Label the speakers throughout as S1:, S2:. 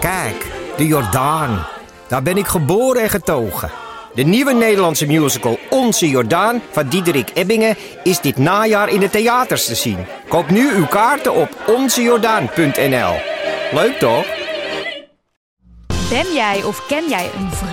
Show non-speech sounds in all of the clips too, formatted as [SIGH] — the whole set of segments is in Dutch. S1: Kijk, de Jordaan. Daar ben ik geboren en getogen. De nieuwe Nederlandse musical Onze Jordaan van Diederik Ebbingen is dit najaar in de theaters te zien. Koop nu uw kaarten op onzejordaan.nl. Leuk toch?
S2: Ben jij of ken jij een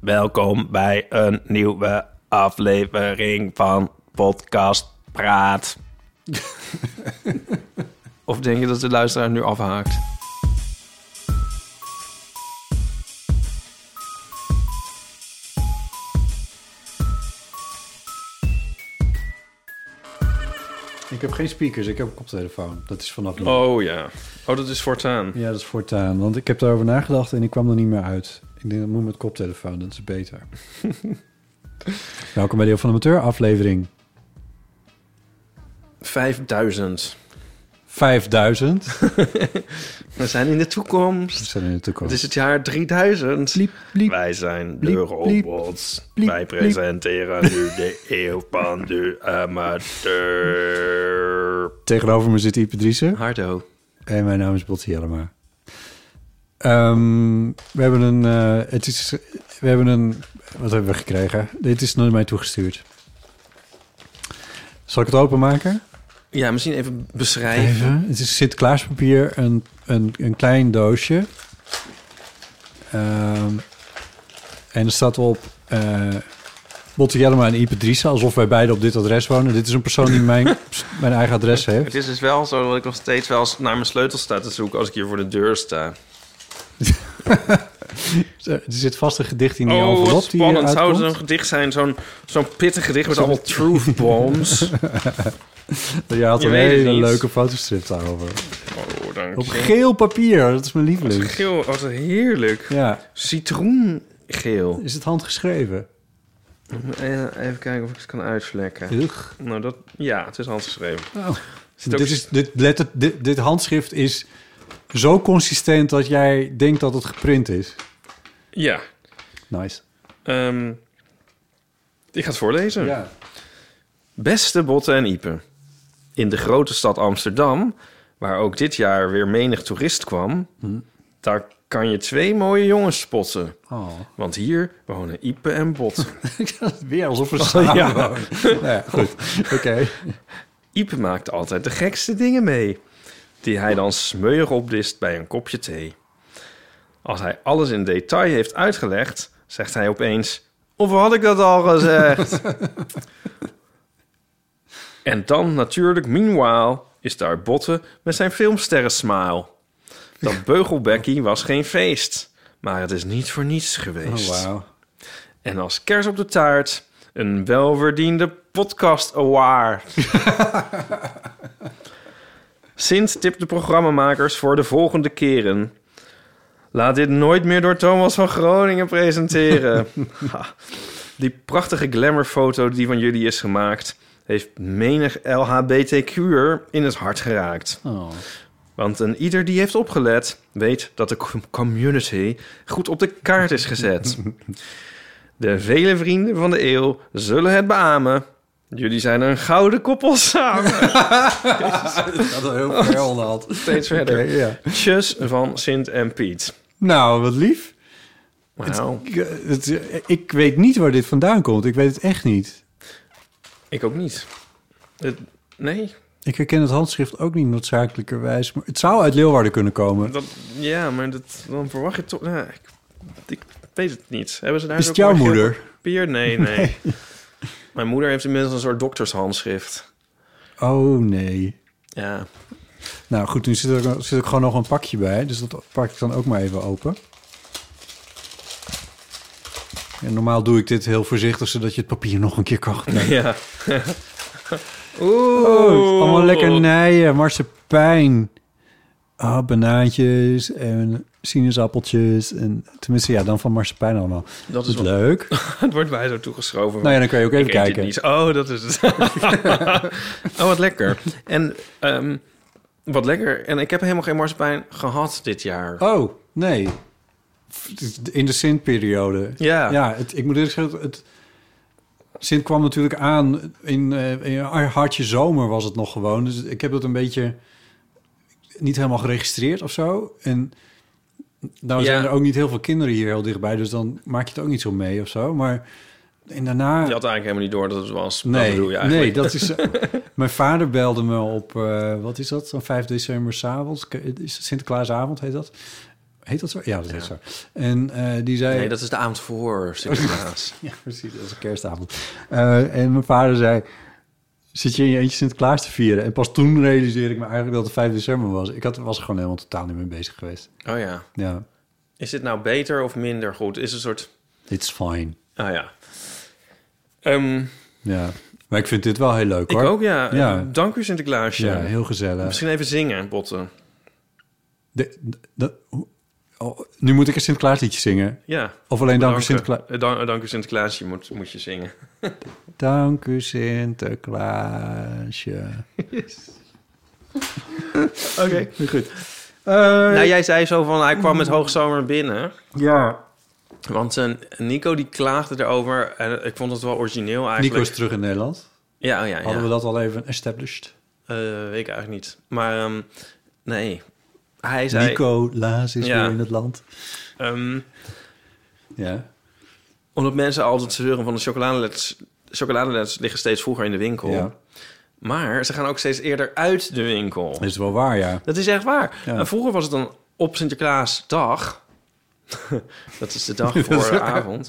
S3: Welkom bij een nieuwe aflevering van Podcast Praat. [LAUGHS] of denk je dat de luisteraar nu afhaakt?
S4: Ik heb geen speakers, ik heb een koptelefoon. Dat is vanaf nu.
S3: Oh ja. Oh, dat is voortaan.
S4: Ja, dat is voortaan. Want ik heb daarover nagedacht en ik kwam er niet meer uit. Ik denk, dat moet met koptelefoon, dat is
S3: [LAUGHS]
S4: beter. Welkom bij Deel van de Amateur, aflevering
S3: 5000. [LAUGHS]
S4: 5000.
S3: We zijn in de toekomst.
S4: We
S3: [LAUGHS]
S4: zijn in de
S3: Het
S4: toekomst.
S3: is het jaar 3000.
S4: Bliep, bliep.
S3: Wij zijn de
S4: Bliep, bliep.
S3: robots.
S4: Bliep,
S3: Wij
S4: bliep.
S3: presenteren nu de eeuw van de amateur.
S4: Tegenover me zit Ipe Driessen.
S3: Hardo.
S4: En mijn naam is Botti Jellema. Ehm, we hebben een... eh, het is, we hebben een... Wat hebben we gekregen? Dit is naar mij toegestuurd. Zal ik het openmaken?
S3: Ja, misschien even beschrijven.
S4: Even. Het is zit klaarspapier, een, een, een klein doosje. Ehm, en er staat op eh Botte Jellema en Ipe Driessen, alsof wij beide op dit adres wonen. Dit is een persoon die
S3: [LAUGHS]
S4: mijn, mijn eigen adres heeft.
S3: Het is dus wel zo dat ik nog steeds wel eens naar mijn sleutel sta te zoeken als ik hier voor de deur sta.
S4: Er zit vast een gedicht in die envelop die hier
S3: Oh, spannend. Zou het een
S4: uitkomt.
S3: gedicht zijn? Zo'n zo'n pittig gedicht met allemaal
S4: [LAUGHS]
S3: truth bombs.
S4: Je had
S3: Je
S4: een
S3: weet het
S4: hele
S3: niet.
S4: leuke fotostrip daarover.
S3: Oh, dank
S4: Op
S3: je.
S4: geel papier, dat is mijn lieveling.
S3: Geel, oh, wat heerlijk.
S4: Ja,
S3: Citroengeel.
S4: is het handgeschreven?
S3: Eh, Even kijken of ik het kan uitvlekken.
S4: Ugh.
S3: Nou, dat... Ja, het is handgeschreven.
S4: Oh.
S3: Zit ook-
S4: Dit, is, dit, letter, dit, dit handschrift is zo consistent dat jij denkt dat het geprint is.
S3: Ja.
S4: Nice.
S3: ehm, ik ga het voorlezen.
S4: Ja.
S3: Beste Botten en Iepen. In de grote stad Amsterdam, waar ook dit jaar weer menig toerist kwam... daar kan je twee mooie jongens spotten.
S4: [LAUGHS] Oh.
S3: Want hier wonen Ipe en Botten.
S4: Weer alsof we samen [LAUGHS]
S3: ja.
S4: wonen. Nou Oh, ja, goed. Oké. Oh,
S3: Ipe maakt altijd de gekste dingen mee, die hij dan smeuig opdist bij een kopje thee. Als hij alles in detail heeft uitgelegd, zegt hij opeens: Of had ik dat al
S4: [LAUGHS]
S3: gezegd? en dan natuurlijk, meanwhile, is daar Botten met zijn filmsterren-smile. Dat beugelbekkie was geen feest, maar het is niet voor niets
S4: Oh,
S3: geweest.
S4: wauw.
S3: En als kers op de taart, een welverdiende podcast award. Sint tipt de programmamakers voor de volgende keren. Laat dit nooit meer door Thomas van Groningen presenteren. Ha. die prachtige glamourfoto die van jullie is gemaakt... heeft menig LHBTQ'er in het hart geraakt.
S4: Oh.
S3: Want een ieder die heeft opgelet, weet dat de com- community goed op de kaart is
S4: [LAUGHS]
S3: gezet. De vele vrienden van de eeuw zullen het beamen. Jullie zijn een gouden koppel
S4: [LAUGHS]
S3: samen.
S4: [LAUGHS] Dat had heel veel had.
S3: Steeds verder.
S4: Oké, ja.
S3: Tjus van Sint en Piet.
S4: Nou, wat lief.
S3: Nou,
S4: Ik, eh, het, eh, ik weet niet waar dit vandaan komt. Ik weet het echt niet.
S3: ik ook niet. Het- nee,
S4: Ik herken het handschrift ook niet noodzakelijkerwijs. Maar het zou uit Leeuwarden kunnen komen.
S3: dat, ja, maar dat, dan verwacht je toch... nou, ik, ik weet het niet. Hebben ze daar
S4: Is
S3: ook
S4: het jouw
S3: maar geel
S4: moeder?
S3: Papier? Nee,
S4: [LAUGHS]
S3: nee. Mijn moeder heeft inmiddels een soort doktershandschrift.
S4: Oh, nee.
S3: Ja,
S4: Nou goed, nu zit er, zit ook gewoon nog een pakje bij. Dus dat pak ik dan ook maar even open.
S3: [LAUGHS]
S4: En normaal doe ik dit heel voorzichtig, zodat je het papier nog een keer kan. gebruiken.
S3: Ja. Oeh.
S4: Oh, allemaal lekkernijen, marsepein. Ah, banaantjes en sinaasappeltjes. En, tenminste, ja, dan van marsepein allemaal.
S3: Dat
S4: Dat
S3: is
S4: is
S3: wel- [LAUGHS]
S4: leuk.
S3: Het wordt mij zo toegeschoven.
S4: nou ja, dan kun je ook even
S3: Ik eet dit
S4: kijken.
S3: niet. Oh, dat is het. [LAUGHS] oh, wat lekker. En ehm, wat lekker. En ik heb helemaal geen marsepein gehad dit jaar.
S4: Oh, nee. In de Sint-periode.
S3: Ja.
S4: Ja, het, ik moet eerlijk zeggen, het, Sint kwam natuurlijk aan in, eh, in een hartje zomer was het nog gewoon. Dus ik heb dat een beetje niet helemaal geregistreerd of zo. En nou
S3: Ja.
S4: zijn er ook niet heel veel kinderen hier heel dichtbij, dus dan maak je het ook niet zo mee of zo. Maar en daarna...
S3: Je had eigenlijk helemaal niet door dat het was. Dat
S4: Nee,
S3: bedoel je eigenlijk.
S4: nee, dat is. eh,
S3: [LAUGHS]
S4: mijn vader belde me op. eh, wat is dat? Zo'n 5 december 's avonds. K- Is het Sinterklaasavond heet dat? Heet dat zo? Ja, dat heet zo. En eh, die zei.
S3: Nee, dat is de avond voor Sinterklaas.
S4: [LAUGHS] Ja, precies. Dat is een kerstavond. Eh, en mijn vader zei... Zit je in je eentje Sinterklaas te vieren? En pas toen realiseerde ik me eigenlijk dat het 5 december was. Ik had, was er gewoon helemaal totaal niet mee bezig geweest.
S3: [LAUGHS] oh ja.
S4: Ja,
S3: Is dit nou beter of minder goed? Is een soort...
S4: it's fine.
S3: Ah ja. Ehm,
S4: Ja. Maar ik vind dit wel heel leuk,
S3: ik
S4: hoor.
S3: ook, ja.
S4: Ja.
S3: Dank u Sinterklaasje.
S4: Ja, heel gezellig.
S3: Misschien even zingen, botten.
S4: De, de- hoe- oh, nu moet ik een Sinterklaasliedje zingen.
S3: Ja.
S4: Of alleen dank u
S3: Bedanken.
S4: Sinterklaas.
S3: Eh, dan- eh, Dank u Sinterklaasje moet, moet je zingen.
S4: Dank u Sinterklaasje. [LAUGHS]
S3: Oké.
S4: Goed. Eh,
S3: Nou, jij zei zo van, hij kwam met hoogzomer binnen.
S4: Ja.
S3: Want eh, Nico die klaagde erover. En eh, ik vond het wel origineel eigenlijk.
S4: Nico is terug in Nederland.
S3: Ja, oh ja, ja.
S4: Hadden we dat al even established?
S3: Eh, weet ik eigenlijk niet. Maar ehm, nee, hij zei...
S4: Nico Laas is
S3: Ja.
S4: weer in het land.
S3: ehm,
S4: Ja.
S3: omdat mensen altijd zeuren van de chocoladeletters... Chocoladeletters liggen steeds vroeger in de winkel.
S4: Ja.
S3: Maar ze gaan ook steeds eerder uit de winkel.
S4: Dat is wel waar, ja.
S3: Dat is echt waar.
S4: Ja.
S3: En vroeger was het dan op Sinterklaasdag. [LAUGHS] dat is de dag
S4: [LAUGHS] Dat is
S3: voor de
S4: waar.
S3: avond.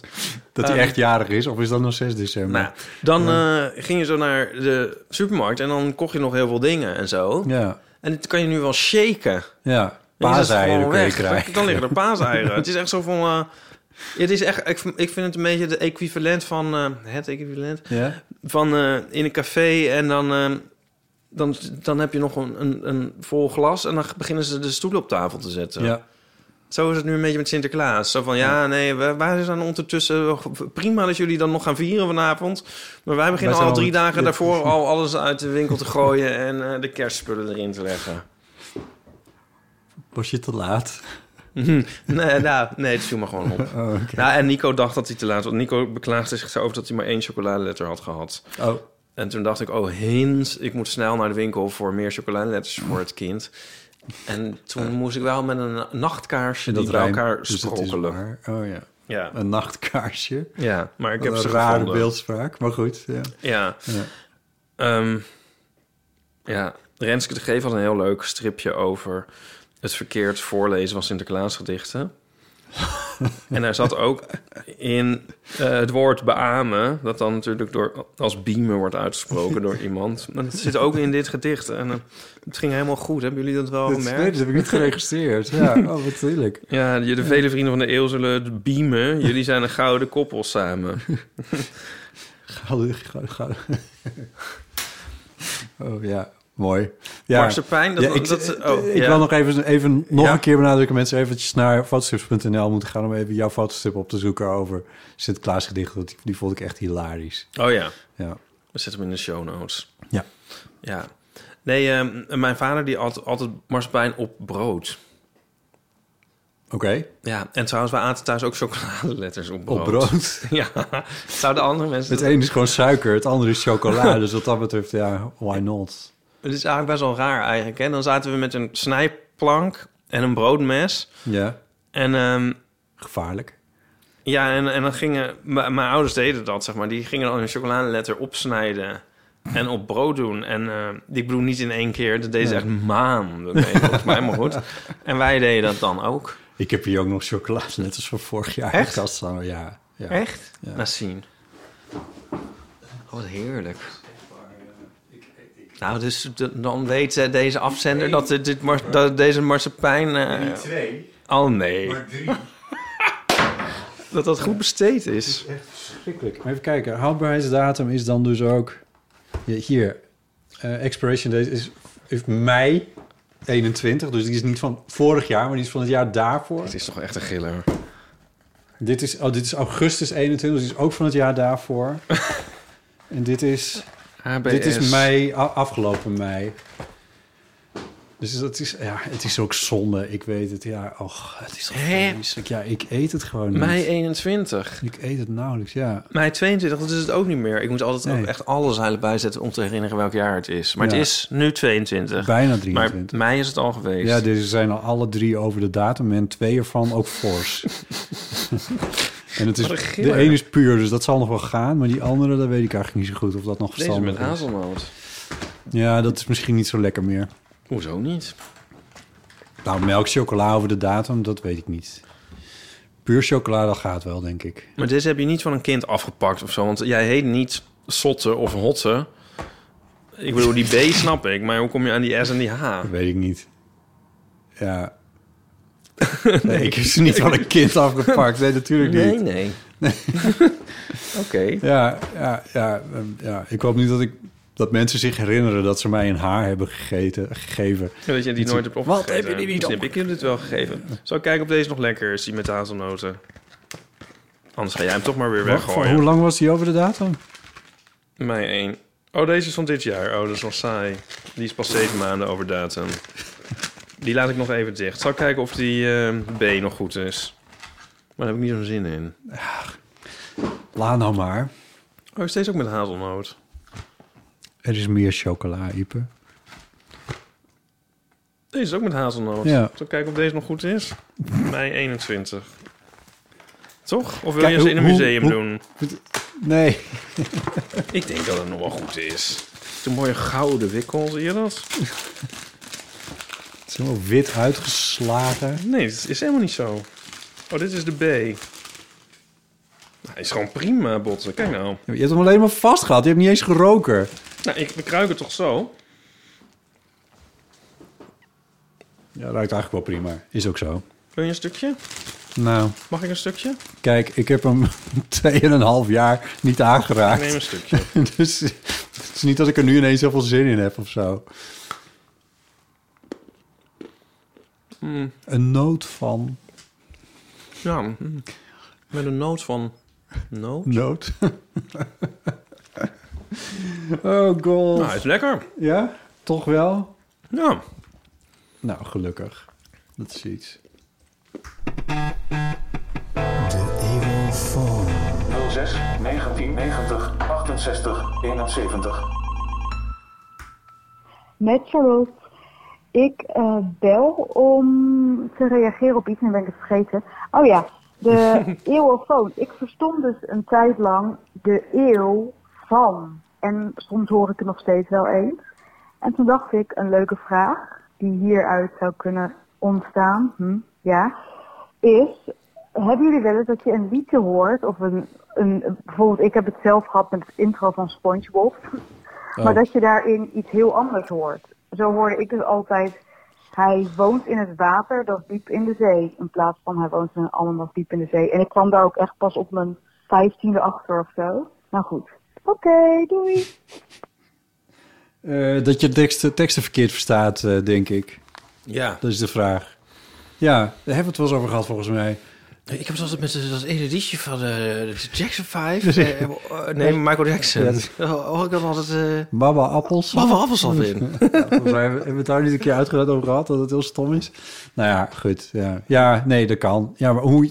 S4: Dat hij
S3: Ehm,
S4: echt jarig is, of is dat nog 6 december?
S3: Nou, dan eh, ging je zo naar de supermarkt en dan kocht je nog heel veel dingen en zo.
S4: Ja.
S3: En dit kan je nu wel shaken.
S4: Ja.
S3: Dan is het
S4: Paaseieren
S3: gewoon
S4: kun je
S3: weg. [LAUGHS]
S4: krijgen.
S3: Dan liggen er
S4: [LAUGHS]
S3: paaseieren. het is echt zo van... eh, het is echt, ik, ik vind het een beetje de equivalent van... eh, het equivalent
S4: Ja.
S3: van eh, in een café en dan... eh, dan, dan heb je nog een, een, een vol glas en dan beginnen ze de stoelen op tafel te zetten.
S4: ja.
S3: Zo is het nu een beetje met Sinterklaas. Zo van, ja, nee, we- wij zijn ondertussen... oh, Prima dat jullie dan nog gaan vieren vanavond. Maar wij beginnen
S4: zijn
S3: al
S4: al
S3: drie
S4: het-
S3: dagen
S4: dit- [LAUGHS]
S3: daarvoor al alles uit de winkel te gooien... en eh, de kerstspullen erin te leggen.
S4: Was je te laat?
S3: Nee, [LAUGHS] nou, nee, het viel me gewoon op.
S4: Oh, oké.
S3: Nou, en Nico dacht dat hij te laat... Want Nico beklaagde zich over dat hij maar één chocoladeletter had gehad.
S4: Oh.
S3: En toen dacht ik, oh, hint, ik moet snel naar de winkel... voor meer chocoladeletters voor het kind. En toen moest ik wel met een nachtkaarsje die bij
S4: rijmt,
S3: elkaar
S4: dus het is
S3: sprokkelen.
S4: waar. Oh ja.
S3: ja.
S4: Een nachtkaarsje.
S3: ja, maar ik heb
S4: een
S3: ze
S4: rare
S3: gevonden.
S4: beeldspraak, maar goed. Ja.
S3: Ja.
S4: Ja.
S3: Ehm, ja, Renske de Geef had een heel leuk stripje over het verkeerd voorlezen van Sinterklaasgedichten. en daar zat ook in eh, het woord beamen, dat dan natuurlijk door, als biemen wordt uitgesproken door iemand. Maar dat zit ook in dit gedicht. En eh, het ging helemaal goed. Hebben jullie dat wel
S4: Dat, nee,
S3: gemerkt?
S4: dat heb
S3: [LAUGHS]
S4: ik niet geregistreerd. ja, oh, wat lelijk.
S3: Ja, je- de vele vrienden van de eeuw zullen het biemen. Jullie zijn een gouden koppel samen.
S4: Gouden, gouden, gouden. [LAUGHS] Oh ja, mooi. Ja,
S3: Marsepein, dat-
S4: Ja, ik
S3: dat- oh,
S4: ik
S3: ja.
S4: wil nog even, even nog
S3: Ja.
S4: een keer benadrukken... mensen eventjes naar fotostrips.nl moeten gaan... om even jouw fotostrip op te zoeken over Sinterklaasgedichten. Want die, die vond ik echt hilarisch.
S3: Oh ja.
S4: Ja.
S3: We zetten hem in de show notes.
S4: Ja.
S3: Ja. Nee, ehm, mijn vader die at altijd marsepein op brood.
S4: Oké,
S3: Ja, en trouwens, wij aten thuis ook chocoladeletters op brood.
S4: op
S3: [LAUGHS]
S4: brood.
S3: Ja, zouden andere mensen...
S4: Het
S3: Het,
S4: een is gewoon suiker, het andere is [LAUGHS] chocola. dus wat dat betreft, ja, why not?
S3: is eigenlijk best wel raar eigenlijk, hè? Dan zaten we met een snijplank en een broodmes.
S4: Ja,
S3: En ehm,
S4: gevaarlijk.
S3: ja, en, en dan gingen... m- Mijn ouders deden dat, zeg maar. Die gingen dan een chocoladeletter opsnijden... En op brood doen. En eh, ik bedoel niet in één keer. Dat deed ze echt maanden. mee, volgens mij, maar
S4: [LAUGHS]
S3: goed. En wij deden dat dan ook.
S4: Ik heb hier ook nog [LAUGHS] chocoladeletters van vorig jaar.
S3: Echt?
S4: Dat staan, ja. ja.
S3: Echt?
S4: Ja.
S3: Laat zien. Oh, wat heerlijk. Nou, dus de- dan weet eh, deze afzender dat, dit, dit mar- dat deze marsepein... Niet twee. Oh, nee. Maar drie. [LAUGHS] dat dat goed besteed is.
S4: Schrikkelijk. Maar even kijken, houdbaarheidsdatum is dan dus ook... Ja, hier, eh, expiration date is, is mei 21. Dus die is niet van vorig jaar, maar die is van het jaar daarvoor.
S3: Het is toch echt een giller.
S4: Dit is, oh, dit is augustus 21, dus die is ook van het jaar [LAUGHS] daarvoor. en dit is,
S3: HBS.
S4: dit is mei, a- afgelopen mei. Dus dat is, ja, het is ook zonde, ik weet het. Ja, och, het is toch
S3: Hè?
S4: vreselijk. Ja, ik eet het gewoon niet.
S3: Mei 21.
S4: Ik eet het nauwelijks, ja.
S3: Mei 22, dat is het ook niet meer. Ik moet altijd
S4: Nee.
S3: ook echt alles eigenlijk bijzetten om te herinneren welk jaar het is. Maar
S4: Ja.
S3: het is nu 22.
S4: Bijna
S3: Maar
S4: 23.
S3: mei is het al geweest.
S4: Ja, deze zijn al alle drie over de datum en twee ervan ook
S3: [LAUGHS]
S4: fors. en het is,
S3: Wat een giller.
S4: de ene is puur, dus dat zal nog wel gaan. Maar die andere, daar weet ik eigenlijk niet zo goed of dat nog
S3: Deze
S4: verstandig
S3: met
S4: is.
S3: hazelnoot.
S4: Ja, dat is misschien niet zo lekker meer.
S3: Hoezo niet?
S4: Nou, melk, chocola over de datum, dat weet ik niet. Puur chocola, dat gaat wel, denk ik.
S3: Maar deze heb je niet van een kind afgepakt of zo. Want jij heet niet Sotte of Hotte. Ik bedoel, die
S4: [LAUGHS]
S3: B snap ik. Maar hoe kom je aan die S en die H?
S4: Dat weet ik niet. Ja. nee, ik heb ze niet van een kind afgepakt. Nee, natuurlijk niet.
S3: Nee, nee.
S4: [LAUGHS]
S3: Oké.
S4: Ja, ja, ja, ehm, ja. Ik hoop niet dat, ik, dat mensen zich herinneren dat ze mij een haar hebben gegeten, gegeven.
S3: Ja, Dat je die nooit hebt opgegeten.
S4: heb je die niet
S3: Misschien heb Ik heb dit wel gegeven. Zal ik kijken of deze nog lekker is, die met hazelnoten. Anders ga jij hem toch maar weer
S4: Wacht, voor hoe
S3: weggooien.
S4: lang was die over de datum?
S3: Mei 1. Oh, deze is van dit jaar. Oh, dat is nog saai. Die is pas zeven maanden over datum. Die laat ik nog even dicht. Zal ik kijken of die eh, B nog goed is. Maar daar heb ik niet zo'n zin in.
S4: Laat nou maar.
S3: Oh, is deze ook met hazelnoot?
S4: Er is meer chocola, Ipe.
S3: Deze is ook met hazelnoot.
S4: Ja.
S3: Zal ik kijken of deze nog goed is? Mei 21. Toch? Of wil
S4: Kijk,
S3: je ze in een
S4: hoe-
S3: museum
S4: hoe-
S3: doen?
S4: Nee.
S3: Ik denk dat het nog wel goed is. Het is een mooie gouden wikkel, zie je dat?
S4: Het is helemaal wit uitgeslagen.
S3: Nee, het is helemaal niet zo. Oh, dit is de B. Nou, Hij is gewoon prima, Botten. Kijk nou.
S4: Je hebt hem alleen maar vastgehad. Je hebt niet eens geroken.
S3: Nou, ik bekruik het toch zo?
S4: Ja, ruikt eigenlijk wel prima. Is ook zo.
S3: Wil je een stukje?
S4: Nou,
S3: Mag ik een stukje?
S4: kijk, ik heb hem [LAUGHS] 2,5 jaar niet
S3: Ik
S4: aangeraakt.
S3: neem een stukje.
S4: [LAUGHS] Dus het is niet dat ik er nu ineens heel veel zin in heb of zo.
S3: Hmm.
S4: Een noot van.
S3: Ja, mm. met een noot van... Noot?
S4: Noot. [LAUGHS] oh god.
S3: Nou, hij is lekker.
S4: Ja, toch wel?
S3: Ja.
S4: Nou, gelukkig. Dat is iets.
S5: 06 1990 68 71.
S6: Met Charlotte. Ik eh, bel om te reageren op iets en ben ik het vergeten. Oh ja, de eeuwofoon. Ik verstond dus een tijd lang de eeuw van. En soms hoor ik het nog steeds wel eens. En toen dacht ik, een leuke vraag die hieruit zou kunnen ontstaan, hm, ja, is, hebben jullie wel eens dat je een liedje hoort of een, een, bijvoorbeeld ik heb het zelf gehad met het intro van SpongeBob. Maar dat je daarin iets heel anders hoort. Zo hoorde ik dus altijd, hij woont in het water, dat is diep in de zee. In plaats van hij woont in een allemaal diep in de zee. En ik kwam daar ook echt pas op mijn vijftiende achter of zo. Nou goed. Oké, doei.
S4: Eh, dat je teksten, teksten verkeerd verstaat, eh, denk ik.
S3: Ja.
S4: Dat is de vraag. Ja, daar hebben we het wel eens over gehad volgens mij.
S3: Ik heb altijd met dat ene liedje van eh, Jackson 5. [LAUGHS] nee, Michael Jackson. Hoor ik dat altijd... eh,
S4: Baba appels.
S3: Baba appelsap in.
S4: Volgens mij hebben we het daar niet een keer uitgelegd over gehad, dat het heel stom is. Nou ja, goed. Ja, ja nee, dat kan. Ja, maar, hoe,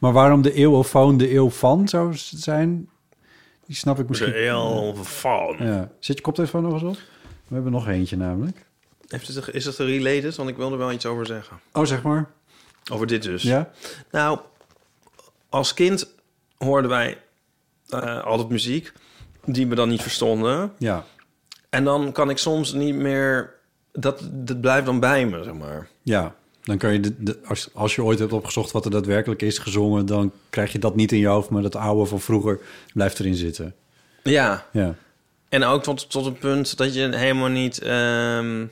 S4: maar waarom de eeuwofoon de eeuw van zou s- zijn, die snap ik misschien.
S3: Heel van.
S4: Ja. Zet je koptelefoon nog eens op? We hebben nog eentje namelijk.
S3: Heeft het, is dat related? Want ik wil er wel iets over zeggen.
S4: Oh, zeg maar.
S3: Over dit dus.
S4: Ja?
S3: Nou, als kind hoorden wij eh, altijd muziek die we dan niet verstonden.
S4: Ja.
S3: En dan kan ik soms niet meer... Dat, dat blijft dan bij me, zeg maar.
S4: Ja. Dan kan je, de, de- als, als je ooit hebt opgezocht wat er daadwerkelijk is gezongen, dan krijg je dat niet in je hoofd, maar dat oude van vroeger blijft erin zitten.
S3: Ja.
S4: Ja.
S3: En ook tot, tot een punt dat je helemaal niet ehm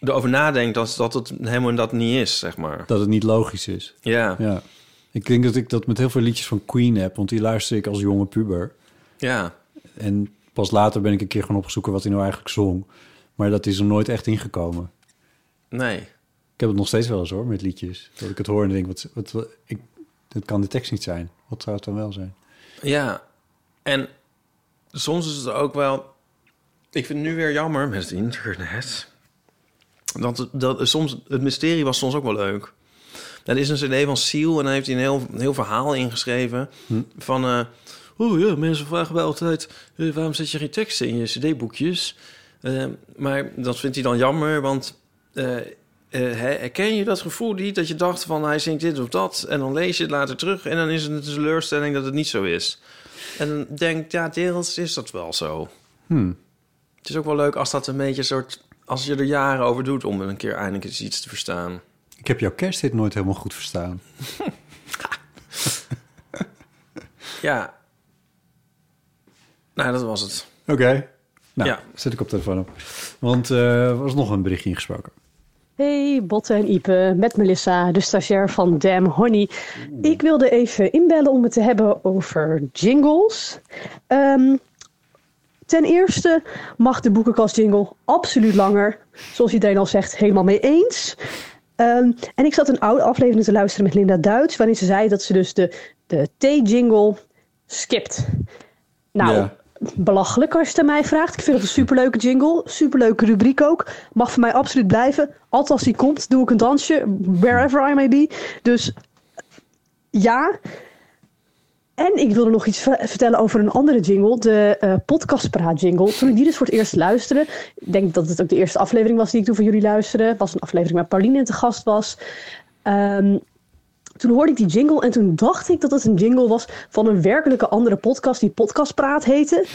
S3: erover nadenkt... Dat, dat het helemaal dat niet is, zeg maar.
S4: Dat het niet logisch is.
S3: Ja. Ja.
S4: Ja. Ik denk dat ik dat met heel veel liedjes van Queen heb, want die luister ik als jonge puber. En Pas later ben ik een keer gaan opzoeken wat hij nou eigenlijk zong. Maar dat is er nooit echt ingekomen.
S3: [LAUGHS] Nee.
S4: Ik heb het nog steeds wel eens hoor, met liedjes. Dat ik het hoor en denk, wat, wat, wat- ik, dit kan de tekst niet zijn. Wat zou het dan wel zijn?
S3: Ja, en soms is het ook wel... Ik vind het nu weer jammer met het internet. Want het- dat, soms, het mysterie was soms ook wel leuk. Er is een cd van Seal en daar heeft hij een heel, een heel verhaal ingeschreven... van... eh oh ja, mensen vragen wel altijd... eh, waarom zet je geen teksten in je cd-boekjes? Eh, maar dat vindt hij dan jammer, want... eh, eh, hè, herken je dat gevoel niet dat je dacht van hij zingt dit of dat... en dan lees je het later terug en dan is het een teleurstelling dat het niet zo is... En dan denk ik, ja, deels is dat wel zo.
S4: Hmm.
S3: Het is ook wel leuk als dat een beetje een soort... als je er jaren over doet om een keer eindelijk eens iets te verstaan.
S4: Ik heb jouw kersthit nooit helemaal goed verstaan.
S3: Ja. Nou, dat was het.
S4: Oké. Nou,
S3: Ja.
S4: zet ik op telefoon op. Want eh, er was nog een berichtje ingesproken.
S6: Hey, Botte en Ipe, met Melissa, de stagiair van Damn Honey. Ik wilde even inbellen om het te hebben over jingles. Ehm, ten eerste mag de boekenkast jingle absoluut langer. Zoals iedereen al zegt, helemaal mee eens. Ehm, en ik zat een oude aflevering te luisteren met Linda Duits... waarin ze zei dat ze dus de, de T-jingle skipt. Nou,
S4: Ja.
S6: belachelijk als je het aan mij vraagt. Ik vind het een superleuke jingle, superleuke rubriek ook. Mag voor mij absoluut blijven. Altijd als die komt, doe ik een dansje, wherever I may be. Dus ja. En ik wilde nog iets ver- vertellen over een andere jingle, de eh podcastpraat jingle. Toen ik die dus voor het eerst luisterde, ik denk dat het ook de eerste aflevering was die ik toen voor jullie luisterde. was een aflevering waar Pauline te gast was. Ehm, toen hoorde ik die jingle en toen dacht ik dat het een jingle was van een werkelijke andere podcast die Podcastpraat heette.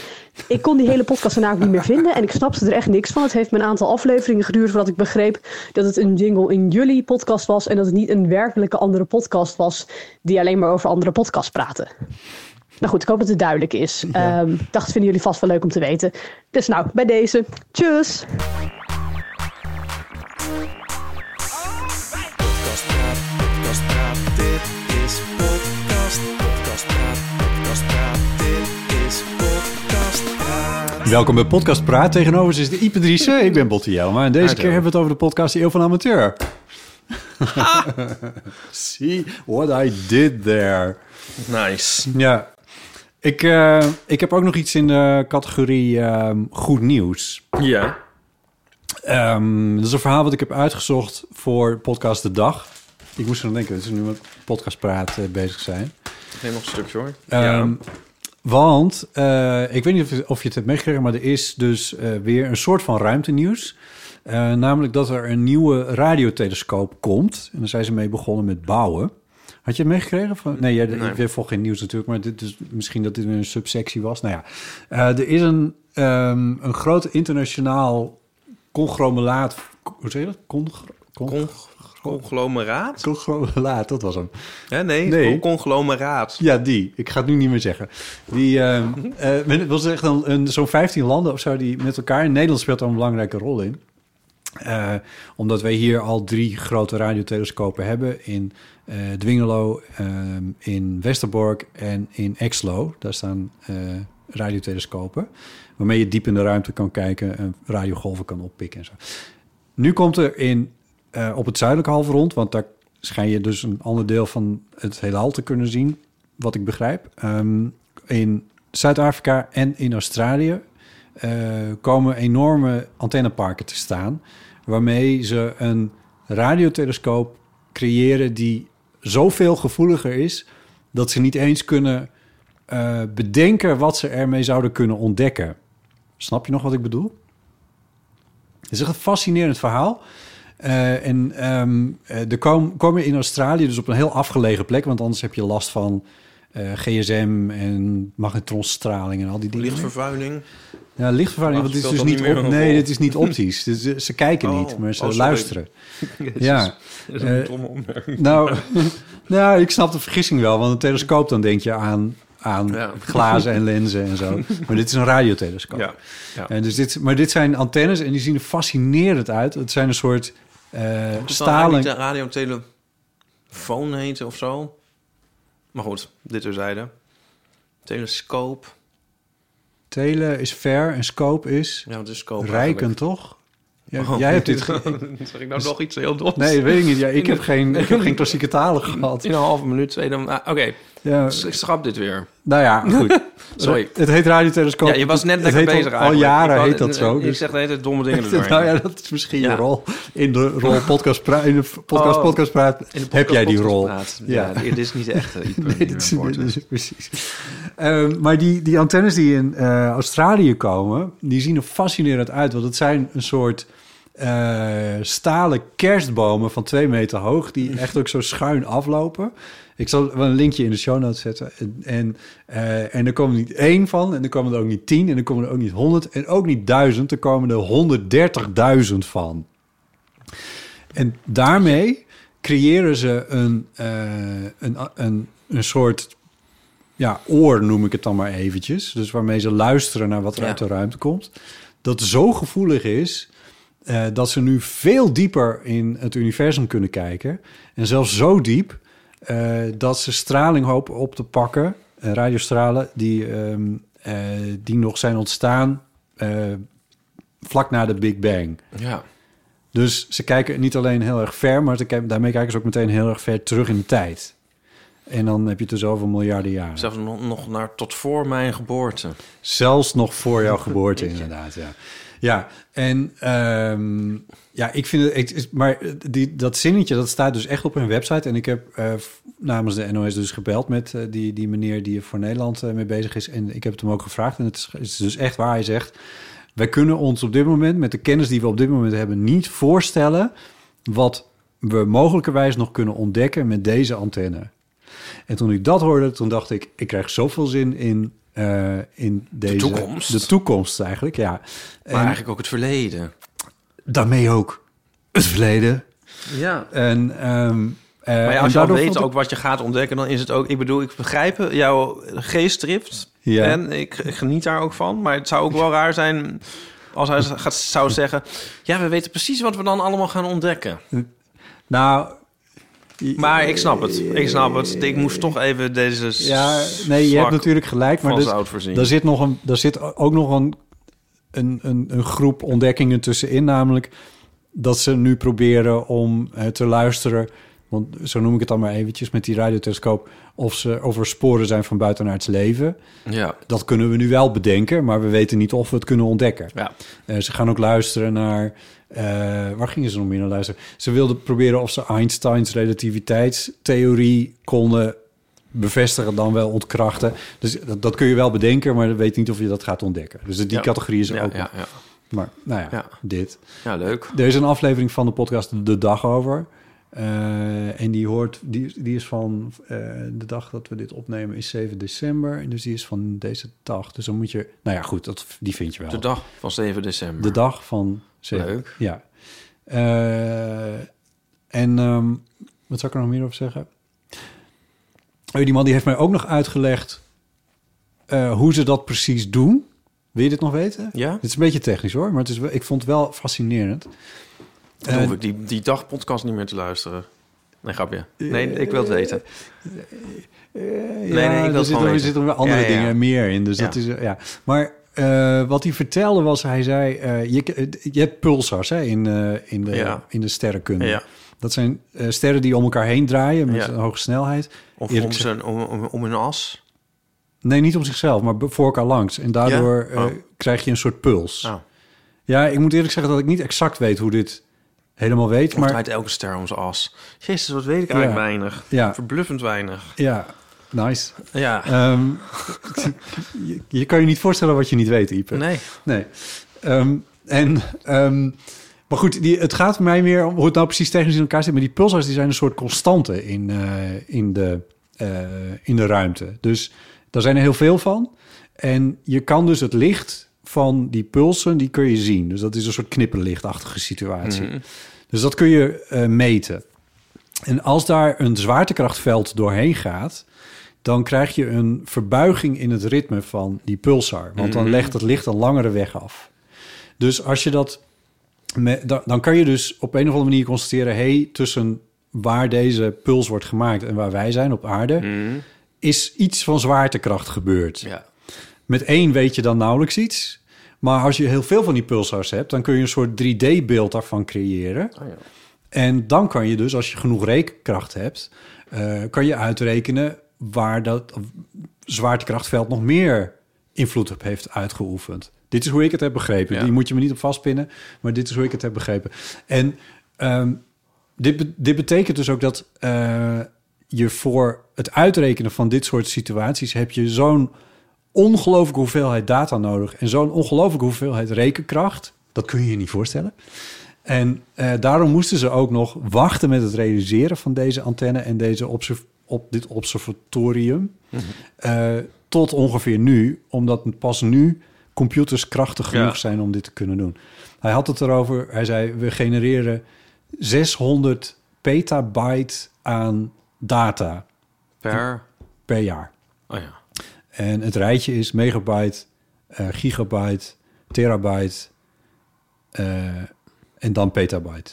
S6: Ik kon die hele podcast daarna ook niet meer vinden en ik snapte er echt niks van. Het heeft me een aantal afleveringen geduurd voordat ik begreep dat het een jingle in jullie podcast was en dat het niet een werkelijke andere podcast was die alleen maar over andere podcasts praatte. Nou goed, ik hoop dat het duidelijk is. Ehm, Ik dacht, vinden jullie vast wel leuk om te weten. Dus nou, bij deze. Tjus!
S4: Welkom bij Podcast Praat. Tegenover ons is de Ipe Driessen. Ik ben Botte Jelma. En deze
S3: Hallo.
S4: keer hebben we het over de podcast De Eeuw van de Amateur. See what I did there.
S3: Nice.
S4: Ja. Ik, eh, ik heb ook nog iets in de categorie ehm, goed nieuws.
S3: Ja.
S4: Ehm, dat is een verhaal wat ik heb uitgezocht voor podcast De Dag. Ik moest er aan denken, dat ze nu met podcast praat eh, bezig zijn.
S3: Neem nog een stukje hoor.
S4: Ehm, Want, eh, ik weet niet of je, of je het hebt meegekregen... maar er is dus eh, weer een soort van ruimtenieuws. Eh, namelijk dat er een nieuwe radiotelescoop komt. En daar zijn ze mee begonnen met bouwen. Had je het meegekregen? Van, nee, jij,
S3: Nee.
S4: ik weet volg geen nieuws natuurlijk... maar dit is, misschien dat dit weer een subsectie was. Nou ja, eh, er is een, ehm, een groot internationaal conglomeraat... Hoe zeg je dat? Congr- congr-
S3: Con- conglomeraat?
S4: Conglomeraat, dat was hem.
S3: Hè, nee,
S4: Nee.
S3: con- conglomeraat.
S4: Ja, die. Ik ga het nu niet meer zeggen. Die eh, eh, men- het was echt een, een, zo'n 15 landen of zo die met elkaar. Nederland speelt daar een belangrijke rol in. Eh, omdat wij hier al drie grote radiotelescopen hebben in eh, Dwingelo, ehm, in Westerbork en in Exlo. Daar staan eh, radiotelescopen waarmee je diep in de ruimte kan kijken en radiogolven kan oppikken en zo. Nu komt er in, eh, op het zuidelijke halfrond, want daar schijn je dus een ander deel van het heelal te kunnen zien, wat ik begrijp. Ehm, in Zuid-Afrika en in Australië eh, komen enorme antenneparken te staan, waarmee ze een radiotelescoop creëren die zoveel gevoeliger is dat ze niet eens kunnen eh, bedenken wat ze ermee zouden kunnen ontdekken. Snap je nog wat ik bedoel? Het is echt een fascinerend verhaal. Eh, en ehm, eh, er kom- komen in Australië dus op een heel afgelegen plek, want anders heb je last van eh, gsm en magnetronstraling en al die dingen.
S3: Lichtvervuiling.
S4: Ja, lichtvervuiling,
S3: Maar
S4: want dit is
S3: het
S4: dus
S3: speelt
S4: niet
S3: dan niet
S4: op,
S3: meer een
S4: nee,
S3: rol.
S4: dit is niet optisch. Dit is- ze kijken
S3: Oh,
S4: niet, maar ze
S3: oh, sorry. [LAUGHS]
S4: luisteren. Ja.
S3: Dat is een
S4: Eh,
S3: domme opmerking. [LAUGHS]
S4: Nou, nou, ik snap de vergissing wel, want een telescoop dan denk je aan, aan
S3: Ja.
S4: glazen en lenzen en
S3: [LAUGHS]
S4: zo. Maar dit is een radiotelescoop.
S3: Ja. ja.
S4: En dus dit, maar dit zijn antennes en die zien er fascinerend uit. Het zijn een soort eh, stalen...
S3: de radiotelefoon heten of zo. Maar goed, dit terzijde. Telescoop.
S4: Telen is fair en scope is
S3: Ja, want het is koop
S4: rijken, toch? Ja,
S3: eigenlijk.
S4: jij
S3: [LAUGHS]
S4: hebt dit... ge- Dus
S3: Dan zeg ik nou nog iets heel doms.
S4: Nee, weet ik niet. Ja, ik heb geen, ik heb geen klassieke talen gehad.
S3: In een halve minuut, twee dan... ah, Oké,
S4: Ja,
S3: dus ik schrap dit weer.
S4: nou ja, goed.
S3: Sorry.
S4: Het heet radiotelescoop.
S3: Ja, je was net
S4: Het
S3: lekker
S4: heet al-
S3: bezig
S4: Al
S3: eigenlijk. Ik
S4: jaren
S3: wou-
S4: heet dat zo.
S3: Ik
S4: dus-
S3: zeg de hele tijd
S4: [LAUGHS]
S3: domme dingen erdoor.
S4: nou ja, dat is misschien
S3: Ja.
S4: je rol. In de
S3: [LAUGHS]
S4: rol podcast, pra- in de podcast,
S3: Oh.
S4: podcast praat heb jij die rol.
S3: Ja,
S4: Ja.
S3: dit is niet
S4: [LAUGHS]
S3: echt. eh, Ipe,
S4: Nee,
S3: die
S4: dit is,
S3: rapport,
S4: dit
S3: hè.
S4: is- precies. Ehm, maar die, die antennes die in eh, Australië komen, die zien er fascinerend uit. Want het zijn een soort eh, stalen kerstbomen van twee meter hoog,
S3: [LAUGHS]
S4: die echt ook zo schuin aflopen. Ik zal wel een linkje in de show notes zetten. En, en, eh, en er komen niet één van, en er komen er ook niet tien, en er komen er ook niet honderd, en ook niet duizend. Er komen er 130.000 van. En daarmee creëren ze een, eh, een, een, een soort ja, oor, noem ik het dan maar eventjes. Dus waarmee ze luisteren naar wat er
S3: Ja.
S4: uit de ruimte komt. Dat zo gevoelig is eh, dat ze nu veel dieper in het universum kunnen kijken. En zelfs zo diep eh, dat ze straling hopen op te pakken. eh, radiostralen die, ehm, eh, die nog zijn ontstaan eh, vlak na de Big Bang.
S3: Ja.
S4: Dus ze kijken niet alleen heel erg ver, maar ze kijken, daarmee kijken ze ook meteen heel erg ver terug in de tijd. En dan heb je het er zoveel miljarden jaren.
S3: Zelfs nog, nog naar tot voor mijn geboorte.
S4: Zelfs nog voor jouw geboorte, inderdaad. Ja, ja en ehm, ja, ik vind het. ik- maar die, dat zinnetje dat staat dus echt op hun website. En ik heb eh, f- namens de NOS dus gebeld met eh, die, die meneer die er voor Nederland eh, mee bezig is. En ik heb het hem ook gevraagd. En het is, het is dus echt waar. Hij zegt: Wij kunnen ons op dit moment, met de kennis die we op dit moment hebben, niet voorstellen wat we mogelijkerwijs nog kunnen ontdekken met deze antenne. En toen ik dat hoorde, toen dacht ik, ik krijg zoveel zin in, eh, in deze...
S3: toekomst.
S4: De toekomst eigenlijk, ja.
S3: Maar
S4: en
S3: eigenlijk ook het verleden.
S4: daarmee ook het verleden.
S3: Ja.
S4: En, ehm, eh,
S3: Maar ja,
S4: en
S3: als je al
S4: daardoor
S3: weet
S4: vond ik-
S3: ook wat je gaat ontdekken, dan is het ook... Ik bedoel, ik begrijp jouw geestdrift.
S4: Ja.
S3: En ik, ik geniet daar ook van. Maar het zou ook wel raar zijn als hij gaat, zou zeggen... Ja, we weten precies wat we dan allemaal gaan ontdekken.
S4: Nou,
S3: Maar ik snap het. Ik snap het. Ik moest toch even deze
S4: ja, nee, je hebt natuurlijk gelijk. Maar
S3: van
S4: dus,
S3: zout voorzien.
S4: daar, zit nog een, daar zit ook nog een, een, een, een groep ontdekkingen tussenin. Namelijk dat ze nu proberen om eh, te luisteren... want zo noem ik het dan maar eventjes met die radiotelescoop... of ze over sporen zijn van buitenaards leven.
S3: Ja.
S4: Dat kunnen we nu wel bedenken, maar we weten niet of we het kunnen ontdekken.
S3: Ja.
S4: Eh, ze gaan ook luisteren naar. eh, waar gingen ze nog meer naar luisteren? Ze wilden proberen of ze Einsteins relativiteitstheorie konden bevestigen, dan wel ontkrachten. Dus dat, dat kun je wel bedenken, maar je weet niet of je dat gaat ontdekken. Dus die
S3: Ja.
S4: categorie is er
S3: Ja,
S4: ook.
S3: ja,
S4: nog.
S3: ja.
S4: Maar nou ja,
S3: Ja.
S4: dit.
S3: ja, leuk.
S4: Er is een aflevering van de podcast De Dag Over. Eh, en die hoort, die, die is van eh, de dag dat we dit opnemen is 7 december. En dus die is van deze dag. Dus dan moet je, nou ja, goed, dat, die vind je wel.
S3: De dag van 7 december.
S4: De dag van zeven.
S3: Leuk.
S4: Ja. Eh, en ehm, wat zou ik er nog meer over zeggen? Oh, die man die heeft mij ook nog uitgelegd eh, hoe ze dat precies doen. Wil je dit nog weten?
S3: Ja?
S4: Het is een beetje technisch hoor, maar het is, wel- ik vond het wel fascinerend.
S3: Dan
S4: Eh,
S3: hoef ik die, die dagpodcast niet meer te luisteren. Nee, grapje.
S4: Eh,
S3: Nee, ik wil het weten.
S4: nee,
S3: nee, ik wil het gewoon
S4: er zitten, er
S3: weten.
S4: zitten wel andere
S3: Ja, ja, ja.
S4: dingen meer in. Dus
S3: Ja.
S4: dat is, ja. Maar eh, wat hij vertelde was, hij zei, eh, je, je hebt pulsars hè, in, eh, in, de,
S3: Ja.
S4: in de sterrenkunde.
S3: Ja.
S4: Dat zijn eh, sterren die om elkaar heen draaien met
S3: Ja.
S4: een hoge snelheid.
S3: Of
S4: Eerlijk
S3: om,
S4: gezegd-
S3: zijn, om, om, om hun as.
S4: Nee, niet om zichzelf, maar be- voor elkaar langs. En daardoor
S3: Ja? Oh.
S4: eh, krijg je een soort puls.
S3: Nou,
S4: Ja, ik moet eerlijk zeggen dat ik niet exact weet hoe dit helemaal weet.
S3: maar...
S4: Maar
S3: draait elke ster om zijn as. Jezus, wat weet ik eigenlijk
S4: Ja.
S3: weinig.
S4: Ja.
S3: Verbluffend weinig.
S4: ja, nice.
S3: Ja.
S4: Ehm, [LAUGHS] je, je kan je niet voorstellen wat je niet weet, Ipe.
S3: nee.
S4: Nee. Ehm, en, ehm, maar goed, die, het gaat mij meer om hoe het nou precies technisch in elkaar zit. Maar die pulsars die zijn een soort constante in, eh, in, de, eh, in de ruimte. Dus daar zijn er heel veel van. En je kan dus het licht van die pulsen, die kun je zien. Dus dat is een soort knipperlichtachtige situatie. Dus dat kun je eh, meten. En als daar een zwaartekrachtveld doorheen gaat, dan krijg je een verbuiging in het ritme van die pulsar. Want dan legt het licht een langere weg af. Dus als je dat. me- da- dan kan je dus op een of andere manier constateren: hey, tussen waar deze puls wordt gemaakt en waar wij zijn op aarde, is iets van zwaartekracht gebeurd.
S3: Ja.
S4: Met één weet je dan nauwelijks iets. Maar als je heel veel van die pulsars hebt, dan kun je een soort 3D-beeld daarvan creëren. En dan kan je dus, als je genoeg rekenkracht hebt, eh, kan je uitrekenen waar dat zwaartekrachtveld nog meer invloed op heeft uitgeoefend. Dit is hoe ik het heb begrepen.
S7: Ja.
S4: Die moet je me niet op vastpinnen, maar dit is hoe ik het heb begrepen. En ehm, dit, be- dit betekent dus ook dat eh, je voor het uitrekenen van dit soort situaties heb je zo'n ongelooflijke hoeveelheid data nodig en zo'n ongelooflijke hoeveelheid rekenkracht. Dat kun je je niet voorstellen. En eh, daarom moesten ze ook nog wachten met het realiseren van deze antenne en deze observ- op dit observatorium eh, tot ongeveer nu, omdat pas nu computers krachtig genoeg
S7: Ja.
S4: zijn om dit te kunnen doen. Hij had het erover, hij zei, we genereren 600 petabyte aan data
S7: Per...
S4: per jaar.
S7: Oh ja.
S4: En het rijtje is megabyte, eh, gigabyte, terabyte eh, en dan petabyte.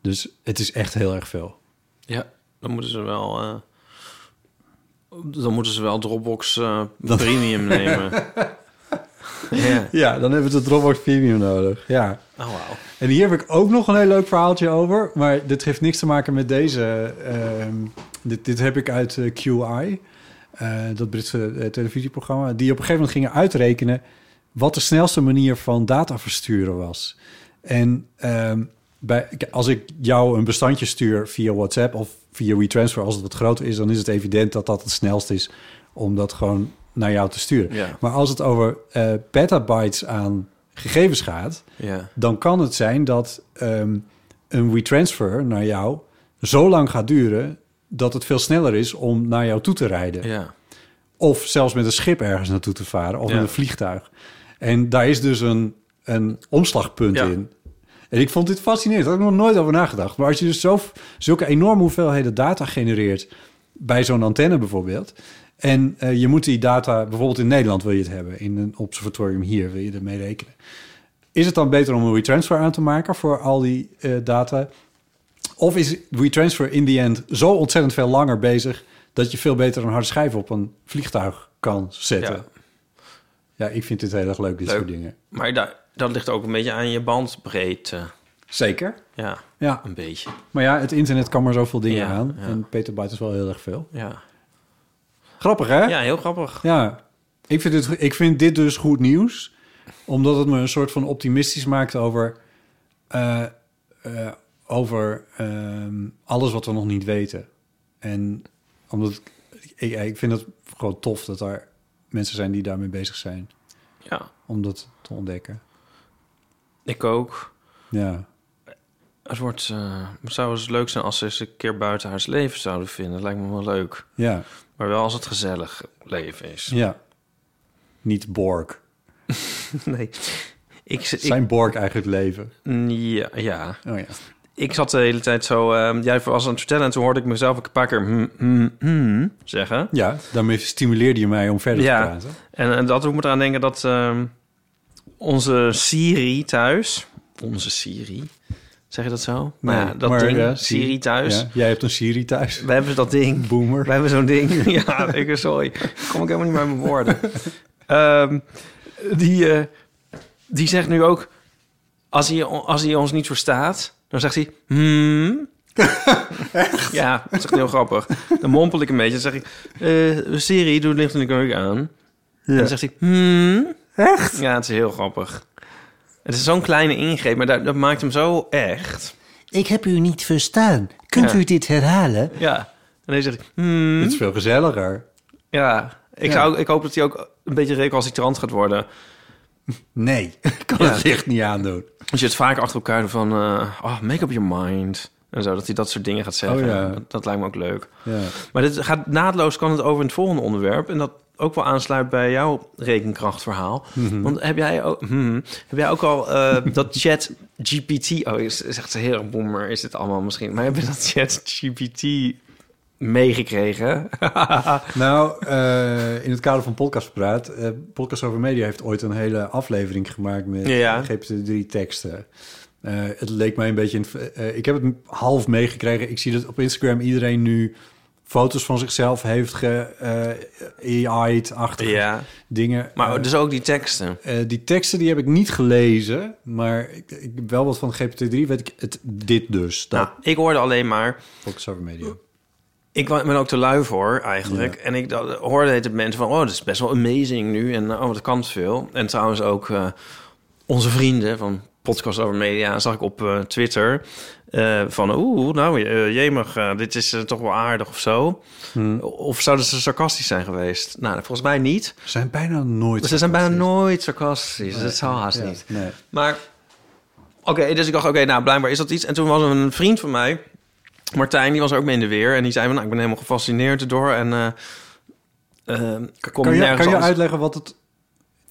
S4: Dus het is echt heel erg veel.
S7: Ja, dan moeten ze wel... eh, dan moeten ze wel Dropbox eh,
S4: Dat- [LAUGHS]
S7: Premium nemen. ja.
S4: Ja, dan hebben we de Dropbox Premium nodig. Ja.
S7: Oh, wauw.
S4: En hier heb ik ook nog een heel leuk verhaaltje over. Maar dit heeft niks te maken met deze. ehm, dit, dit heb ik uit eh, QI, eh, dat Britse eh, televisieprogramma. Die op een gegeven moment gingen uitrekenen wat de snelste manier van data versturen was. En ehm, bij, k- als ik jou een bestandje stuur via WhatsApp of via WeTransfer, als het wat groter is, dan is het evident dat dat het snelst is om dat gewoon naar jou te sturen.
S7: Ja.
S4: Maar als het over eh, petabytes aan gegevens gaat,
S7: Ja.
S4: dan kan het zijn dat ehm, een WeTransfer naar jou zo lang gaat duren dat het veel sneller is om naar jou toe te rijden.
S7: Ja.
S4: Of zelfs met een schip ergens naartoe te varen of
S7: Ja.
S4: met een vliegtuig. En daar is dus een, een omslagpunt
S7: Ja.
S4: in. En ik vond dit fascinerend. Daar had ik nog nooit over nagedacht. Maar als je dus zo, zulke enorme hoeveelheden data genereert... bij zo'n antenne bijvoorbeeld... en eh, je moet die data... bijvoorbeeld in Nederland wil je het hebben... in een observatorium hier wil je ermee rekenen. Is het dan beter om een retransfer aan te maken... voor al die eh, data? Of is WeTransfer in the end zo ontzettend veel langer bezig... dat je veel beter een harde schijf op een vliegtuig kan zetten?
S7: Ja.
S4: Ja, ik vind dit heel erg leuk, dit
S7: Leuk.
S4: soort dingen.
S7: Maar da- dat ligt ook een beetje aan je bandbreedte.
S4: Zeker.
S7: Ja,
S4: Ja,
S7: een beetje.
S4: maar ja, het internet kan maar zoveel dingen
S7: Ja,
S4: aan.
S7: ja.
S4: En petabyte is wel heel erg veel.
S7: Ja,
S4: Grappig, hè?
S7: ja heel grappig.
S4: Ja. Ik, vind dit, ik vind dit dus goed nieuws. Omdat het me een soort van optimistisch maakt over... eh, eh, over ehm, alles wat we nog niet weten. En omdat ik, ik, ik vind het gewoon tof dat er mensen zijn die daarmee bezig zijn.
S7: Ja,
S4: Om dat te ontdekken.
S7: ik ook.
S4: Ja.
S7: Het wordt, eh, het zou eens leuk zijn als ze eens een keer buiten haar leven zouden vinden. Dat lijkt me wel leuk.
S4: Ja.
S7: Maar wel als het gezellig leven is.
S4: Ja. Niet Borg.
S7: [LAUGHS] Nee. Ik, zit- ik,
S4: Zijn Borg eigenlijk leven?
S7: ja, ja,
S4: Oh ja.
S7: ik zat de hele tijd zo... ehm, jij was aan het vertellen en toen hoorde ik mezelf ook een paar keer hmm, hmm, hmm zeggen.
S4: Ja, daarmee stimuleerde je mij om verder
S7: Ja.
S4: te praten.
S7: En, eh, dat doet me eraan denken dat ehm, onze Siri thuis... Onze Siri? Zeg je dat zo? nou ja, dat
S4: maar,
S7: ding,
S4: ja,
S7: Siri, thuis.
S4: Ja, jij hebt een Siri thuis.
S7: We hebben dat ding.
S4: Boomer.
S7: We hebben zo'n [LAUGHS] ding. ja, ik, sorry. Kom ik helemaal niet bij mijn woorden. Ehm, die, eh, die zegt nu ook... Als hij, on- als hij ons niet verstaat, dan zegt hij... Hmm. Ja, dat is [LAUGHS] echt heel grappig. Dan mompel ik een beetje. Dan zeg ik... eh Siri, doe het licht in de keuken aan. En dan zegt hij... Hmm. Echt? Ja, het is heel grappig. Het is zo'n kleine ingreep, maar dat, dat maakt hem zo echt.
S8: Ik heb u niet verstaan. Kunt
S7: Ja.
S8: u dit herhalen?
S7: Ja. En dan zegt hij... Hmm.
S4: Het is veel gezelliger.
S7: Ja, ik, Zou, ik hoop dat hij ook een beetje recalcitrant gaat worden.
S4: Nee, [LAUGHS] ik kan het echt niet aandoen.
S7: Als je het vaak achter elkaar doet van... eh, oh, make up your mind. En zo, dat hij dat soort dingen gaat zeggen.
S4: Oh, ja.
S7: dat, dat lijkt me ook leuk.
S4: Ja.
S7: Maar dit gaat naadloos kan het over in het volgende onderwerp. En dat ook wel aansluit bij jouw rekenkrachtverhaal. Want heb jij ook, mhm. heb jij ook al eh,
S4: [LAUGHS]
S7: dat chat GPT... Oh, is, is echt een hele boomer is dit allemaal misschien. Maar heb je dat chat GPT meegekregen? [LAUGHS]
S4: Nou, eh, in het kader van podcastpraat, eh Podcast over Media heeft ooit een hele aflevering gemaakt met
S7: Ja.
S4: GPT-3 teksten. Eh, het leek mij een beetje... een- eh, ik heb het half meegekregen. Ik zie dat op Instagram iedereen nu foto's van zichzelf heeft ge eh, AI'd, achtige
S7: Ja.
S4: dingen.
S7: Maar
S4: Eh,
S7: dus ook die teksten.
S4: eh, die teksten die heb ik niet gelezen, maar ik, ik heb wel wat van GPT-3 weet ik het, dit dus. Dat
S7: Nou, ik hoorde alleen maar...
S4: Focus over media.
S7: Ik wa- ben ook te lui voor, eigenlijk. En ik da- hoorde het mensen van... oh, dat is best wel amazing nu. En oh, dat kan veel. En trouwens ook eh, onze vrienden van Podcast Over Media... zag ik op eh, Twitter eh, van... oeh, nou, eh, jemig, eh, dit is eh, toch wel aardig of zo. Of zouden ze sarcastisch zijn geweest? Nou, volgens mij niet.
S4: Ze zijn bijna nooit.
S7: Ze zijn bijna nooit sarcastisch. dus dat zou haast
S4: Ja,
S7: niet.
S4: nee.
S7: Maar oké, dus ik dacht, oké, nou blijkbaar is dat iets. En toen was een vriend van mij, Martijn, die was er ook mee in de weer. En die zei, van, nou, ik ben helemaal gefascineerd erdoor. En eh eh, ik kom
S4: Kan je,
S7: nergens
S4: kan je
S7: anders.
S4: uitleggen wat het...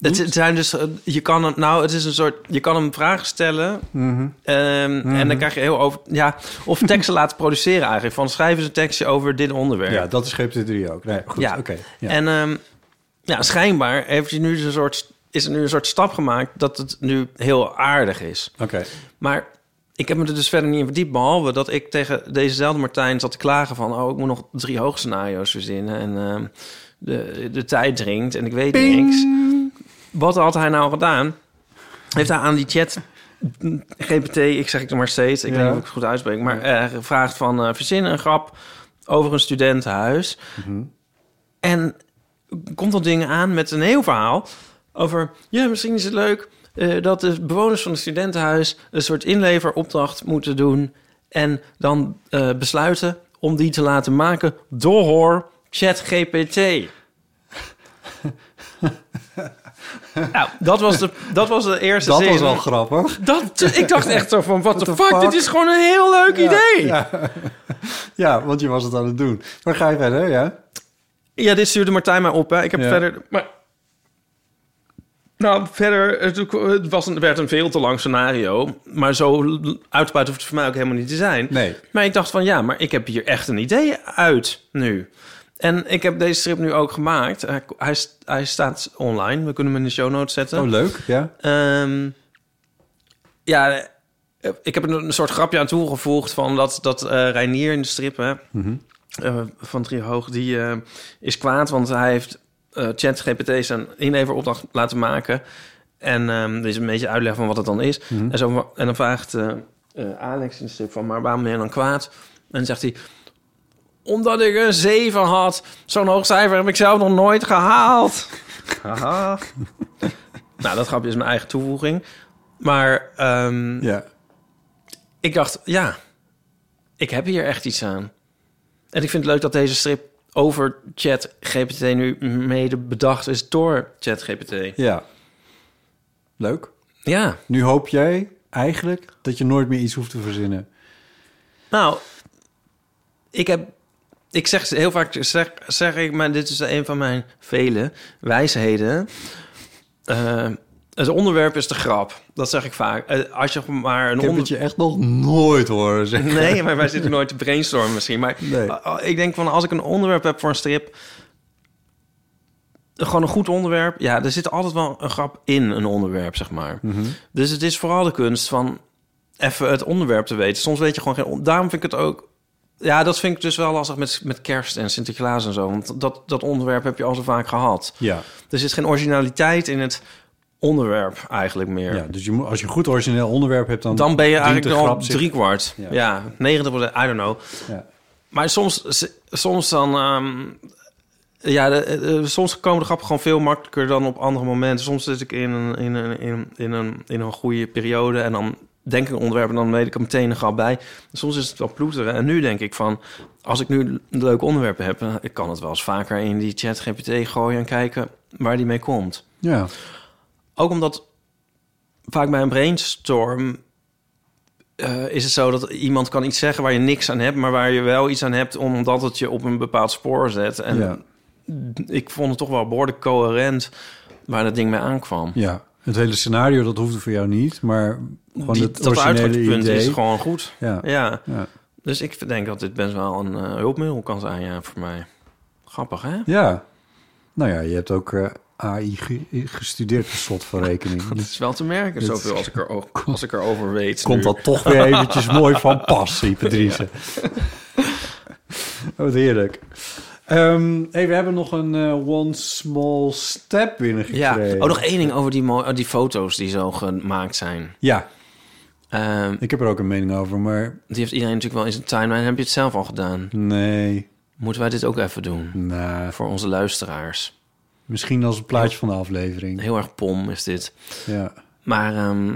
S7: Het is- zijn dus, eh, je kan hem, nou, het is een soort, je kan hem vragen stellen
S4: Mhm.
S7: ehm, en dan krijg je heel over, ja, of teksten [LAUGHS] laten produceren eigenlijk. Van schrijven ze een tekstje over dit onderwerp.
S4: Ja, dat is GPT-3 ook. Nee, goed, oké. ja.
S7: En ehm, ja, schijnbaar heeft hij nu dus een soort, is er nu een soort stap gemaakt dat het nu heel aardig is.
S4: Oké.
S7: Maar ik heb me er dus verder niet in verdiept. Behalve dat ik tegen dezezelfde Martijn zat te klagen van... oh, ik moet nog drie hoogscenario's verzinnen. En ehm, de, de tijd dringt en ik weet niks. Wat had hij nou gedaan? Heeft hij aan die chat... GPT, ik zeg het nog maar steeds. Ik
S4: Ja.
S7: weet niet of ik het goed uitspreek. Maar eh, gevraagd van eh verzin een grap over een studentenhuis. En komt dat ding aan met een heel verhaal over... ja, misschien is het leuk eh, dat de bewoners van het studentenhuis... een soort inleveropdracht moeten doen... en dan eh, besluiten om die te laten maken door
S4: [LAUGHS]
S7: ChatGPT. nou, dat was de, dat was de eerste
S4: Dat
S7: zin.
S4: was wel grappig.
S7: Dat, ik dacht echt zo van, what the
S4: the
S7: fuck,
S4: fuck?
S7: dit is gewoon een heel leuk idee. Ja.
S4: Ja, want je was het aan het doen. Maar ga je verder, ja?
S7: dit stuurde Martijn mij op. Hè. Ik heb
S4: Ja.
S7: verder... Maar... Nou, verder, het, het was een, werd een veel te lang scenario. Maar zo l- uitbuiten hoeft het voor mij ook helemaal niet te zijn.
S4: Nee.
S7: Maar ik dacht van, ja, maar ik heb hier echt een idee uit nu. En ik heb deze strip nu ook gemaakt. Hij, hij, hij staat online. We kunnen hem in de show notes zetten.
S4: Oh, leuk. Ja.
S7: Ehm, ja, eh, ik heb er een soort grapje aan toegevoegd van dat, dat eh Reinier in de strip hè, eh, van Drie Hoog, die eh, is kwaad, want hij heeft eh ChatGPT zijn inleveropdracht laten maken. En ehm er is een beetje uitleg van wat het dan is. en, zo, en dan vraagt eh, eh, Alex in de strip van, maar waarom ben je dan kwaad? En dan zegt hij, omdat ik een 7 had. Zo'n hoog cijfer heb ik zelf nog nooit gehaald. Haha. [LAUGHS] nou, dat grapje is mijn eigen toevoeging. Maar ehm,
S4: Ja.
S7: ik dacht, ja, ik heb hier echt iets aan. En ik vind het leuk dat deze strip over ChatGPT nu mede bedacht is door ChatGPT.
S4: Ja. Leuk.
S7: Ja,
S4: Nu hoop jij eigenlijk dat je nooit meer iets hoeft te verzinnen.
S7: nou, ik heb... Ik zeg heel vaak, zeg, zeg ik, maar dit is een van mijn vele wijsheden. Eh, het onderwerp is de grap. Dat zeg ik vaak. Eh, als je maar een
S4: Ik heb
S7: onder-
S4: het je echt nog nooit horen zeggen.
S7: Nee, maar wij zitten nooit te brainstormen misschien. Maar
S4: Nee.
S7: a- a- ik denk van als ik een onderwerp heb voor een strip... Gewoon een goed onderwerp. Ja, er zit altijd wel een grap in een onderwerp, zeg maar.
S4: Mhm.
S7: Dus het is vooral de kunst van even het onderwerp te weten. Soms weet je gewoon geen... on- Daarom vind ik het ook... Ja, dat vind ik dus wel lastig met, met kerst en Sinterklaas en zo. Want dat, dat onderwerp heb je al zo vaak gehad.
S4: Ja.
S7: Er zit geen originaliteit in het onderwerp eigenlijk meer.
S4: ja, dus je moet, als je een goed origineel onderwerp hebt, dan...
S7: Dan ben je
S4: dient de
S7: eigenlijk al
S4: grap zich-
S7: drie kwart.
S4: Ja.
S7: Ja, 90 I don't know.
S4: Ja.
S7: Maar soms, soms dan... ehm, ja, de- eh, soms komen de grappen gewoon veel makkelijker dan op andere momenten. Soms zit ik in een, in een, in een, in een, in een goede periode en dan denk ik een onderwerp en dan weet ik er meteen een grap bij. Soms is het wel ploeteren. En nu denk ik van, als ik nu een leuk onderwerp heb... eh, ik kan het wel eens vaker in die chat GPT gooien en kijken waar die mee komt.
S4: Ja.
S7: Ook omdat vaak bij een brainstorm eh, is het zo dat iemand kan iets zeggen waar je niks aan hebt, maar waar je wel iets aan hebt omdat het je op een bepaald spoor zet. En
S4: ja.
S7: ik vond het toch wel behoorlijk coherent waar dat ding mee aankwam.
S4: Ja. Het hele scenario, dat hoefde voor jou niet, maar gewoon
S7: Die-
S4: het
S7: dat
S4: originele
S7: uitgangspunt
S4: idee.
S7: is gewoon goed.
S4: Ja.
S7: Ja.
S4: Ja.
S7: Dus ik denk dat dit best wel een eh, hulpmiddel kan zijn ja, voor mij. Grappig, hè?
S4: Ja. Nou ja, je hebt ook eh, AI ge- gestudeerd, per slot van rekening.
S7: Dat is wel te merken, zoveel als ik, er, ook- als ik erover weet.
S4: Dus komt
S7: nu. [LAUGHS]
S4: dat toch weer eventjes mooi van pas, Ipatrice. Wat heerlijk. Ehm, hey, we hebben nog een eh, One Small Step
S7: Ja.
S4: binnengekregen.
S7: Oh, nog één ding over die, mo- oh, die foto's die zo gemaakt zijn.
S4: Ja,
S7: Ehm,
S4: ik heb er ook een mening over, maar
S7: die heeft iedereen natuurlijk wel in zijn timeline. Heb je het zelf al gedaan?
S4: nee.
S7: Moeten wij dit ook even doen?
S4: Nou,
S7: Voor onze luisteraars.
S4: misschien als een plaatje van de aflevering.
S7: Heel erg pom is dit.
S4: Ja.
S7: Maar ehm,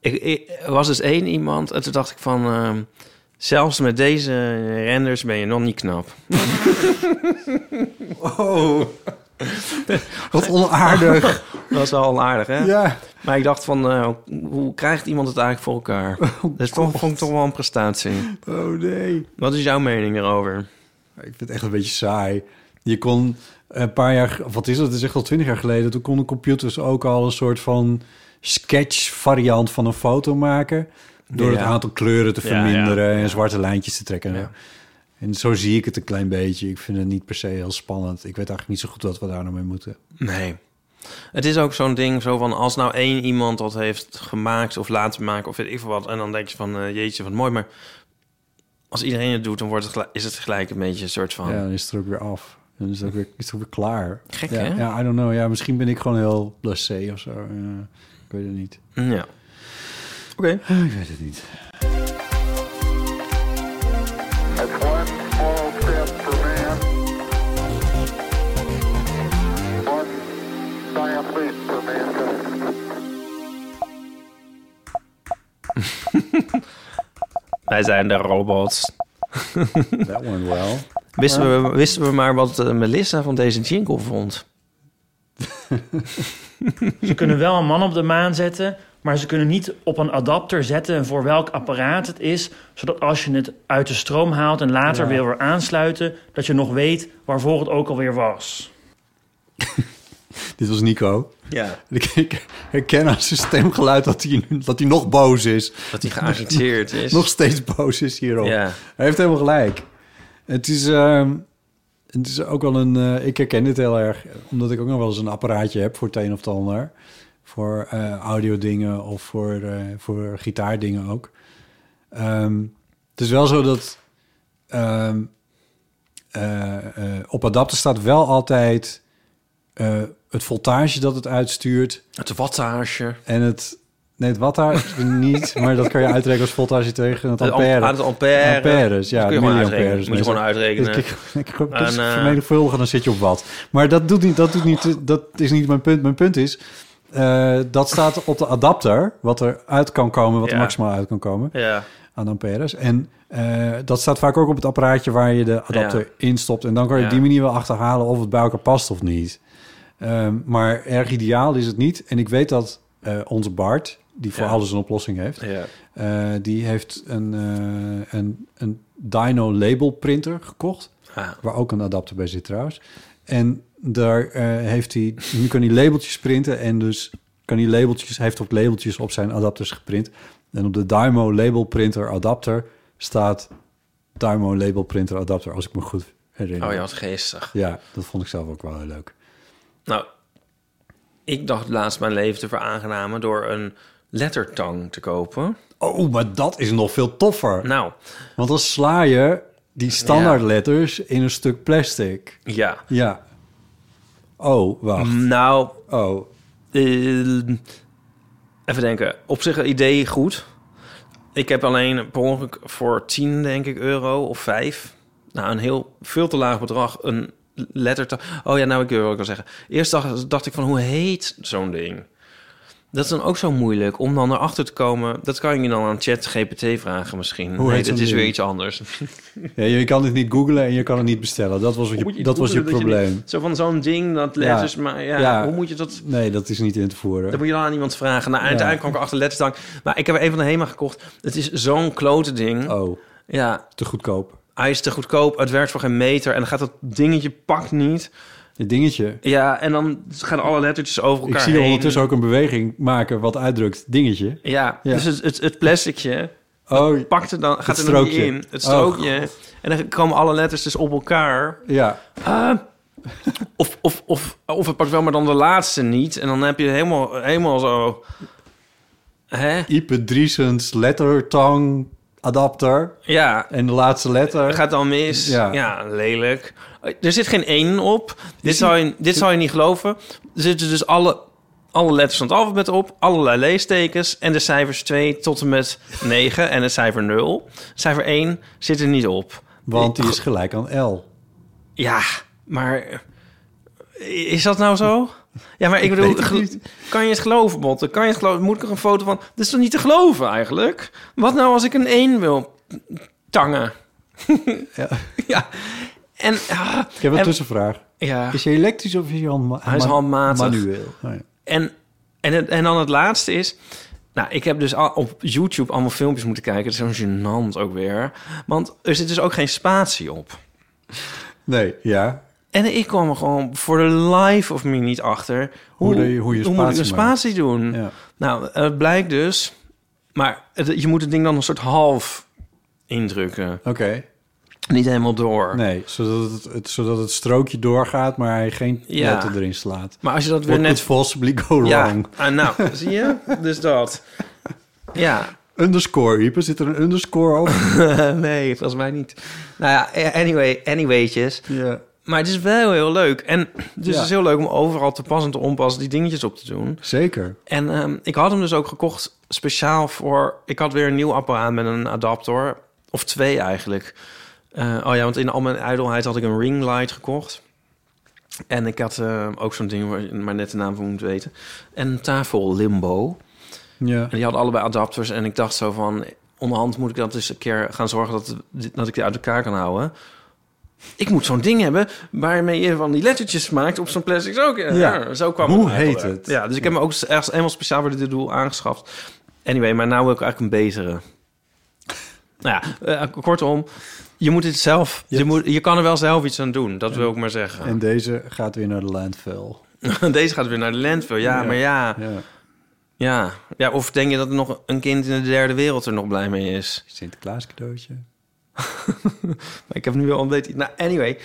S7: ik, ik- er was dus één iemand en toen dacht ik van... ehm, zelfs met deze renders ben je nog niet knap.
S4: Oh, wat
S7: [LAUGHS]
S4: onaardig.
S7: Dat is wel onaardig, hè?
S4: Ja,
S7: Maar ik dacht van, eh, hoe krijgt iemand het eigenlijk voor elkaar? dat is toch, vond ik toch wel een prestatie.
S4: oh nee.
S7: Wat is jouw mening daarover?
S4: Ik vind het echt een beetje saai. Je kon een paar jaar, of wat is dat? Het is echt al twintig jaar geleden. Toen konden computers ook al een soort van sketch-variant van een foto maken. Door het
S7: Ja.
S4: aantal kleuren te
S7: Ja,
S4: verminderen en zwarte lijntjes te trekken.
S7: Ja.
S4: En zo zie ik het een klein beetje. Ik vind het niet per se heel spannend. Ik weet eigenlijk niet zo goed wat we daar nou mee moeten.
S7: Nee. Het is ook zo'n ding, zo van als nou één iemand dat heeft gemaakt of laten maken of weet ik veel wat. En dan denk je van, eh, jeetje, wat mooi. Maar als iedereen het doet, dan wordt het gelijk- is het gelijk een beetje een soort van...
S4: Ja, dan is het er ook weer af. Dan is het ook weer, is het ook weer klaar.
S7: Gek,
S4: ja,
S7: hè?
S4: Ja, I don't know. Ja, misschien ben ik gewoon heel blasé of zo. Ja, ik weet het niet.
S7: mm, Ja. Oké.
S4: Ik weet het niet.
S7: Wij zijn de robots.
S4: That one wel.
S7: Wisten we, wisten we maar wat eh, Melissa van deze jingle vond.
S3: Ze kunnen wel een man op de maan zetten, maar ze kunnen niet op een adapter zetten voor welk apparaat het is, zodat als je het uit de stroom haalt en later weer weer aansluiten, dat je nog weet waarvoor het ook alweer was.
S4: Dit was Nico.
S7: Ja.
S4: Ik, ik herken aan zijn stemgeluid dat hij, dat hij nog boos is.
S7: Dat hij
S4: [LAUGHS]
S7: geagiteerd is.
S4: Nog steeds boos is hierop.
S7: Ja.
S4: Hij heeft helemaal gelijk. Het is, ehm, het is ook wel een... eh, ik herken dit heel erg, omdat ik ook nog wel eens een apparaatje heb voor het een of het ander. Voor eh audio dingen of voor, eh, voor gitaardingen ook. Ehm, het is wel zo dat ehm, eh, eh, op adapter staat wel altijd eh, het voltage dat het uitstuurt...
S7: Het wattage.
S4: En het... Nee, het wattage
S7: [LAUGHS]
S4: niet, maar dat kan je uitrekenen als voltage tegen het
S7: Het
S4: ampère.
S7: am- aan het ampère.
S4: Amperes, ja.
S7: Dat kun je gewoon
S4: milliamperes
S7: uitrekenen. Moet je
S4: meestal.
S7: gewoon uitrekenen.
S4: Dus kijk, kijk, kijk,
S7: En, eh,
S4: vermenigvuldigen, dan zit je op wat. Maar dat, doet niet, dat, doet niet, dat is niet mijn punt. Mijn punt is, eh, dat staat op de adapter, wat er uit kan komen, wat er
S7: Ja.
S4: maximaal uit kan komen
S7: Ja.
S4: aan amperes. En eh, dat staat vaak ook op het apparaatje waar je de adapter
S7: Ja.
S4: in stopt. En dan kan je op
S7: Ja.
S4: die manier wel achterhalen of het bij elkaar past of niet. Ehm, maar erg ideaal is het niet. En ik weet dat eh, onze Bart, die voor
S7: Ja.
S4: alles een oplossing heeft...
S7: ja.
S4: eh, die heeft een, eh, een, een Dino label printer gekocht.
S7: Ah,
S4: Waar ook een adapter bij zit trouwens. En daar eh, heeft hij... Nu kan hij labeltjes printen en dus kan hij labeltjes... Hij heeft ook labeltjes op zijn adapters geprint. En op de Dymo label printer adapter staat... Dymo label printer adapter, als ik me goed herinner.
S7: Oh ja, wat geestig.
S4: Ja, dat vond ik zelf ook wel heel leuk.
S7: Nou, ik dacht laatst mijn leven te veraangenamen door een lettertang te kopen.
S4: Oh, maar dat is nog veel toffer.
S7: Nou,
S4: Want dan sla je die standaard letters in een stuk plastic.
S7: ja.
S4: Ja. Oh,
S3: Mm.
S4: wacht.
S7: Nou,
S4: Oh,
S7: Eh, even denken. Op zich een idee goed. Ik heb alleen per ongeluk voor 10, denk ik, euro of 5. Nou, een heel veel te laag bedrag. Een lettertang. Oh ja, nou, ik wil wel kan zeggen. Eerst dacht, dacht ik van, hoe heet zo'n ding? Dat is dan ook zo moeilijk om dan erachter te komen. Dat kan je dan aan ChatGPT vragen misschien.
S4: Hoe heet
S7: nee, het
S4: zo'n
S7: is weer
S4: ding?
S7: iets [LAUGHS] anders.
S4: Ja, je kan het niet googlen en je kan het niet bestellen. Dat was
S7: Moet
S4: je,
S7: je
S4: dat was je
S7: googlen dat
S4: probleem.
S7: niet- zo van zo'n ding, dat letters. Maar ja,
S4: Ja.
S7: hoe moet je dat...
S4: Nee, dat is niet in te voeren.
S7: Dat moet je dan aan iemand vragen. Nou, uiteindelijk kwam ik achter letterstank. Maar ik heb er een van de HEMA gekocht. Het is zo'n klote ding.
S4: Oh,
S7: Ja,
S4: te goedkoop.
S7: hij is te goedkoop. Het werkt voor geen meter. En dan gaat dat dingetje pakt niet.
S4: Dit dingetje.
S7: Ja, en dan gaan alle lettertjes over
S4: Ik
S7: elkaar
S4: zie je
S7: heen.
S4: ondertussen ook een beweging maken wat uitdrukt dingetje.
S7: Ja,
S4: Ja.
S7: dus het, het, het plasticje
S4: Oh,
S7: pakt er dan, gaat er dan niet
S4: strookje.
S7: in. Het strookje. Oh, en dan komen alle letters dus op elkaar.
S4: ja.
S7: Ah, of, of, of, of het pakt wel, maar dan de laatste niet. En dan heb je helemaal, helemaal zo... Hè?
S4: Ipe Driesens lettertang adapter.
S3: Ja.
S4: En de laatste letter.
S3: Gaat dan mis. Ja.
S4: Ja.
S3: lelijk. Er zit geen één op. Dit zou, je, dit zou je niet geloven. Er zitten dus alle, alle letters van het alfabet op. Allerlei leestekens. En de cijfers 2 tot en met 9. En het cijfer 0. Cijfer 1 zit er niet op.
S4: Want die is gelijk aan L.
S3: Ja, maar is dat nou zo? Ja, maar ik
S4: Ik
S3: bedoel,
S4: weet het
S3: gel- kan je het geloven, Botte? Kan je het geloven? Moet ik er een foto van? Dat is toch niet te geloven eigenlijk? Wat nou als ik een 1 wil tangen?
S4: [LAUGHS] Ja.
S3: ja. En, ah,
S4: Ik heb een
S3: en-
S4: tussenvraag.
S3: Ja.
S4: Is hij elektrisch of is hij handma-
S3: Hij is handmatig.
S4: Manueel. Oh ja.
S3: En, en, het- en dan het laatste is... Nou, ik heb dus al op YouTube allemaal filmpjes moeten kijken. Het is zo gênant ook weer. Want er zit dus ook geen spatie op.
S4: Nee, ja.
S3: En ik kwam er gewoon voor de life of me niet achter...
S4: Hoe de- hoe
S3: moet ik
S4: je
S3: een
S4: spatie maakt.
S3: spatie doen? Nou, het blijkt dus... Maar het- je moet het ding dan een soort half indrukken.
S4: Oké.
S3: Niet helemaal door.
S4: Nee, zodat het, het- zodat het strookje doorgaat, maar hij geen
S3: Ja.
S4: letter erin slaat.
S3: Maar als je dat weer
S4: What
S3: net-
S4: could possibly go
S3: ja,
S4: wrong.
S3: ah,
S4: [LAUGHS]
S3: nou, zie je? Dus dat. Ja,
S4: Underscore, Ieper. Zit er een underscore op?
S3: [LAUGHS] nee, volgens mij niet. Nou ja, anyway, anywaytjes.
S4: Ja.
S3: Maar het is wel heel leuk. En dus
S4: Ja.
S3: het is heel leuk om overal te pas en te onpas die dingetjes op te doen.
S4: Zeker.
S3: En ehm, ik had hem dus ook gekocht speciaal voor... Ik had weer een nieuw apparaat met een adapter. Of twee eigenlijk. Eh, oh ja, want in al mijn ijdelheid had ik een ringlight gekocht. En ik had eh, ook zo'n ding waar je maar net de naam van moet weten. En een tafel limbo.
S4: Ja.
S3: En die hadden allebei adapters. En ik dacht zo van... Onderhand moet ik dat eens een keer gaan zorgen dat, dat ik die uit elkaar kan houden. Ik moet zo'n ding hebben waarmee je van die lettertjes maakt op zo'n plastic zakje.
S4: Ja.
S3: Ja, zo kwam
S4: Hoe
S3: het eigenlijk.
S4: heet het?
S3: Ja, dus ik heb hem ook ergens eenmaal speciaal voor dit doel aangeschaft. Anyway, maar nou wil ik eigenlijk een betere. Nou ja, eh, kortom, je moet het zelf... Je, moet, je kan er wel zelf iets aan doen, dat wil ik maar zeggen.
S4: En deze gaat weer naar de landfill.
S3: [LAUGHS] Deze gaat weer naar de landfill, ja,
S4: Ja,
S3: maar ja.
S4: ja.
S3: ja. Ja, of denk je dat er nog een kind in de derde wereld er nog blij mee is?
S4: Sinterklaas cadeautje.
S3: Maar ik heb nu wel ontdekt. Nou, anyway.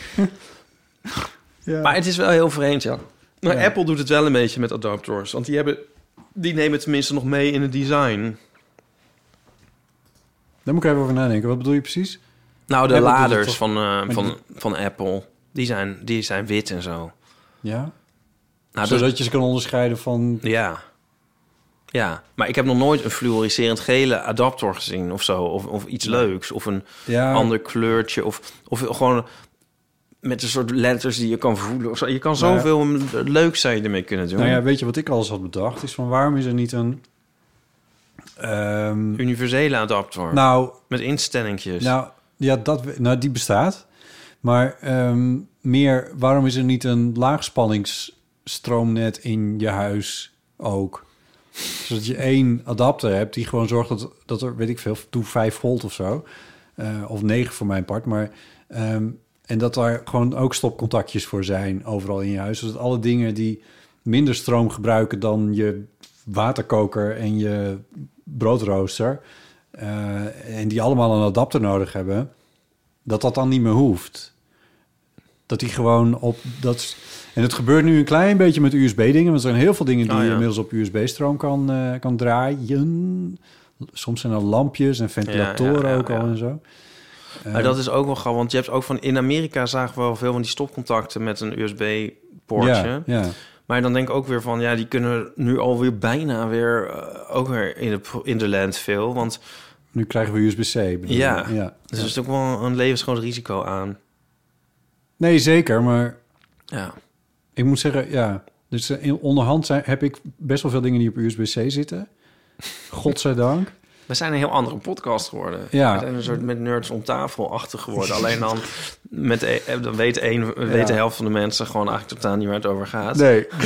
S3: Maar het is wel heel vreemd, ja. Maar
S4: Ja.
S3: Apple doet het wel een beetje met adapters. Want die, hebben, die nemen het tenminste nog mee in het design.
S4: Daar moet ik even over nadenken. Wat bedoel je precies?
S3: Nou, de
S4: Apple doet het
S3: laders
S4: toch-
S3: van, eh,
S4: maar
S3: van,
S4: die-
S3: van Apple, die zijn, die zijn wit en zo.
S4: Ja?
S3: Nou,
S4: Zodat
S3: dat,
S4: je ze kan onderscheiden van...
S3: ja. Ja, maar ik heb nog nooit een fluoriserend gele adapter gezien of zo. Of, of iets leuks. Of een
S4: Ja.
S3: ander kleurtje. Of, of gewoon met een soort letters die je kan voelen. Of zo. Je kan
S4: Nou ja.
S3: zoveel leuk zijn ermee kunnen doen.
S4: Nou ja, weet je wat ik alles had bedacht? Is van waarom is er niet een... ehm,
S3: Universele adapter.
S4: nou,
S3: Met instellingjes.
S7: dus.
S4: nou, ja, dat, we- nou, die bestaat. Maar ehm, meer, waarom is er niet een laagspanningsstroomnet in je huis ook? Zodat je één adapter hebt die gewoon zorgt dat, dat er, weet ik veel, doe 5 volt of zo. Eh, of 9 voor mijn part. Maar, ehm, en dat daar gewoon ook stopcontactjes voor zijn overal in je huis. Zodat alle dingen die minder stroom gebruiken dan je waterkoker en je broodrooster... eh, en die allemaal een adapter nodig hebben... dat dat dan niet meer hoeft. Dat die gewoon op... Dat, s- en het gebeurt nu een klein beetje met USB-dingen... want er zijn heel veel dingen die
S3: Oh, ja.
S4: je inmiddels op USB-stroom kan, eh, kan draaien. Soms zijn er lampjes en ventilatoren
S3: Ja, ja, ja,
S4: ook al
S3: ja.
S4: en zo.
S3: maar dat is ook wel grappig, want je hebt ook van... In Amerika zagen we wel veel van die stopcontacten met een USB-poortje.
S4: Ja, ja.
S3: Maar dan denk ik ook weer van... Ja, die kunnen nu alweer bijna weer... eh, ook weer in de, pro- in de landfill. Want
S4: Nu krijgen we USB-C. bedoel je?
S3: ja,
S4: eh, ja.
S3: dus er is ook wel een levensgroot risico aan.
S4: Nee, zeker. Maar
S3: Ja.
S4: ik moet zeggen, ja. Dus eh, in- onderhand zijn, heb ik best wel veel dingen die op USB-C zitten.
S3: [LAUGHS]
S4: Godzijdank.
S3: We zijn een heel andere podcast geworden.
S4: Ja.
S3: We zijn een soort met nerds om tafel achter geworden. Alleen dan, met, e- dan weet, een, weet de helft van de mensen gewoon eigenlijk totaal niet waar het over gaat.
S4: Nee. We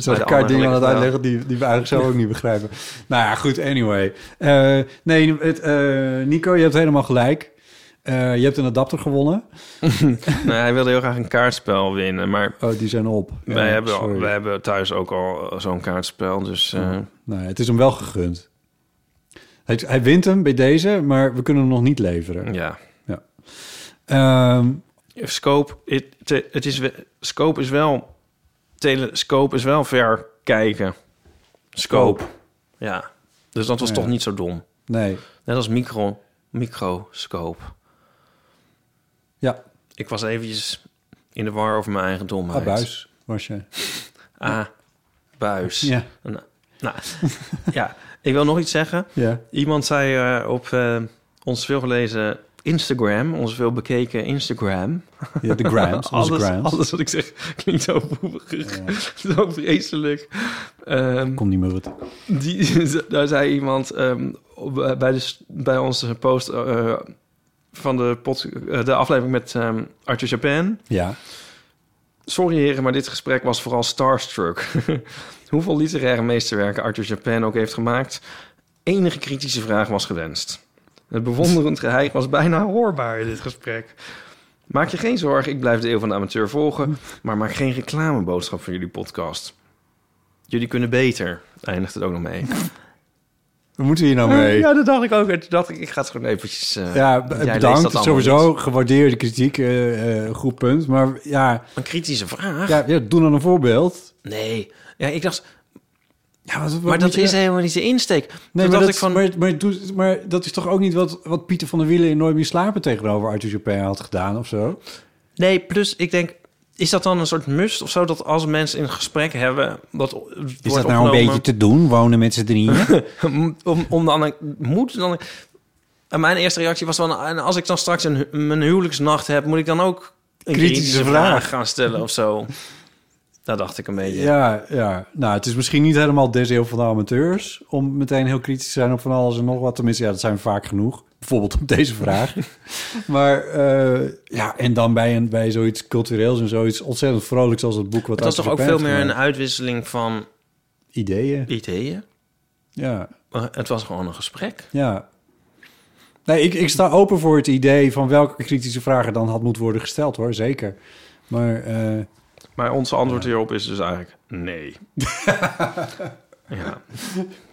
S4: zijn
S3: de
S4: elkaar
S3: anderen
S4: dingen aan
S3: gelukkig
S4: het
S3: wel.
S4: uitleggen die, die we eigenlijk zelf ook niet
S3: [LAUGHS]
S4: begrijpen. Nou ja, goed, anyway. Eh, nee, het, eh, Nico, je hebt helemaal gelijk. Eh, je hebt een adapter gewonnen.
S3: Nee, hij wilde heel graag een kaartspel winnen, maar...
S4: Oh, die zijn op. Ja,
S3: wij, hebben, al-
S4: sorry.
S3: wij hebben thuis ook al eh, zo'n kaartspel, dus... eh,
S4: Nou, ja, het is hem wel gegund. Hij, hij wint hem bij deze, maar we kunnen hem nog niet leveren.
S3: Ja.
S4: Ja. Ehm,
S3: Scope, het, te- het is, we- scope is wel... Telescope is wel ver kijken. Scope. Ja. Dus dat was
S4: Ja.
S3: toch niet zo dom.
S4: Nee.
S3: Net als micro, microscoop.
S4: Ja.
S3: Ik was eventjes in de war over mijn eigen domheid.
S4: Abuis was je.
S3: Ah, buis.
S4: [LAUGHS] Ja.
S3: Nou, nou, ja, ik wil nog iets zeggen.
S4: Ja.
S3: Iemand zei eh, op eh, ons veelgelezen Instagram, ons veel bekeken Instagram.
S4: Ja, de grams, onze
S3: alles,
S4: grams.
S3: alles wat ik zeg [LAUGHS] klinkt zo boerig, [LAUGHS] zo vreselijk. Ehm,
S4: Kom niet meer wat.
S3: Die, [LAUGHS] daar zei iemand ehm, op- bij, de, s- bij onze post eh, van de, pod, eh, de aflevering met ehm Arthur Japan.
S4: Ja.
S3: Sorry heren, maar dit gesprek was vooral starstruck. [LAUGHS] Hoeveel literaire meesterwerken Arthur Japan ook heeft gemaakt, enige kritische vraag was gewenst. Het bewonderend geheim was bijna hoorbaar in dit gesprek. Maak je geen zorgen, ik blijf de eeuw van de amateur volgen, maar maak geen reclameboodschap van jullie podcast. Jullie kunnen beter, eindigt het ook nog mee.
S4: We moeten hier nou mee.
S3: Ja, dat dacht ik ook. En Toen dacht ik, ik ga het gewoon eventjes... eh,
S4: Ja,
S3: jij
S4: b-
S3: leest dat
S4: bedankt.
S3: allemaal
S4: Sowieso
S3: niet.
S4: gewaardeerde kritiek. eh, eh, goed punt. Maar ja,
S3: Een kritische vraag?
S4: ja, ja, doe dan een voorbeeld.
S3: Nee. Ja, ik dacht,
S4: Ja, wat- wat
S3: maar
S4: moet
S3: dat
S4: je-
S3: is helemaal niet de insteek.
S4: Nee,
S3: Toen
S4: maar
S3: dacht
S4: dat,
S3: ik van...
S4: maar, maar, doe- maar dat is toch ook niet wat, wat Pieter van der Wielen in Nooit meer slapen tegenover Arthur Chopin had gedaan of zo?
S3: Nee, plus ik denk, is dat dan een soort must of zo dat als mensen een gesprek hebben, dat wordt
S4: Is dat nou een
S3: opgenomen,
S4: beetje te doen, wonen met z'n drieën?
S3: om, om dan moet dan. En mijn eerste reactie was van, en als ik dan straks een, hu- mijn huwelijksnacht heb, moet ik dan ook een kritische,
S4: Kritische
S3: vraag.
S4: vraag.
S3: gaan stellen of
S4: [LAUGHS]
S3: zo. Daar dacht ik een beetje.
S4: Ja, ja. Nou, het is misschien niet helemaal des eeuw van de amateurs... om meteen heel kritisch te zijn op van alles en nog wat. Tenminste, ja, dat zijn we vaak genoeg. Bijvoorbeeld op deze
S3: [LAUGHS]
S4: vraag. maar eh, ja, en dan bij, een, bij zoiets cultureels en zoiets ontzettend vrolijks als het boek... Wat
S3: het was toch ook
S4: Arthur
S3: veel
S4: Japin
S3: meer
S4: heeft
S3: een
S4: gemaakt.
S3: uitwisseling van
S4: Ideeën,
S3: ideeën.
S4: ja.
S3: Maar Het was gewoon een gesprek.
S4: Ja. Nee, ik, ik sta open voor het idee van welke kritische vragen dan had moeten worden gesteld, hoor. Zeker. Maar eh,
S3: Maar onze antwoord hierop is dus eigenlijk nee. ja.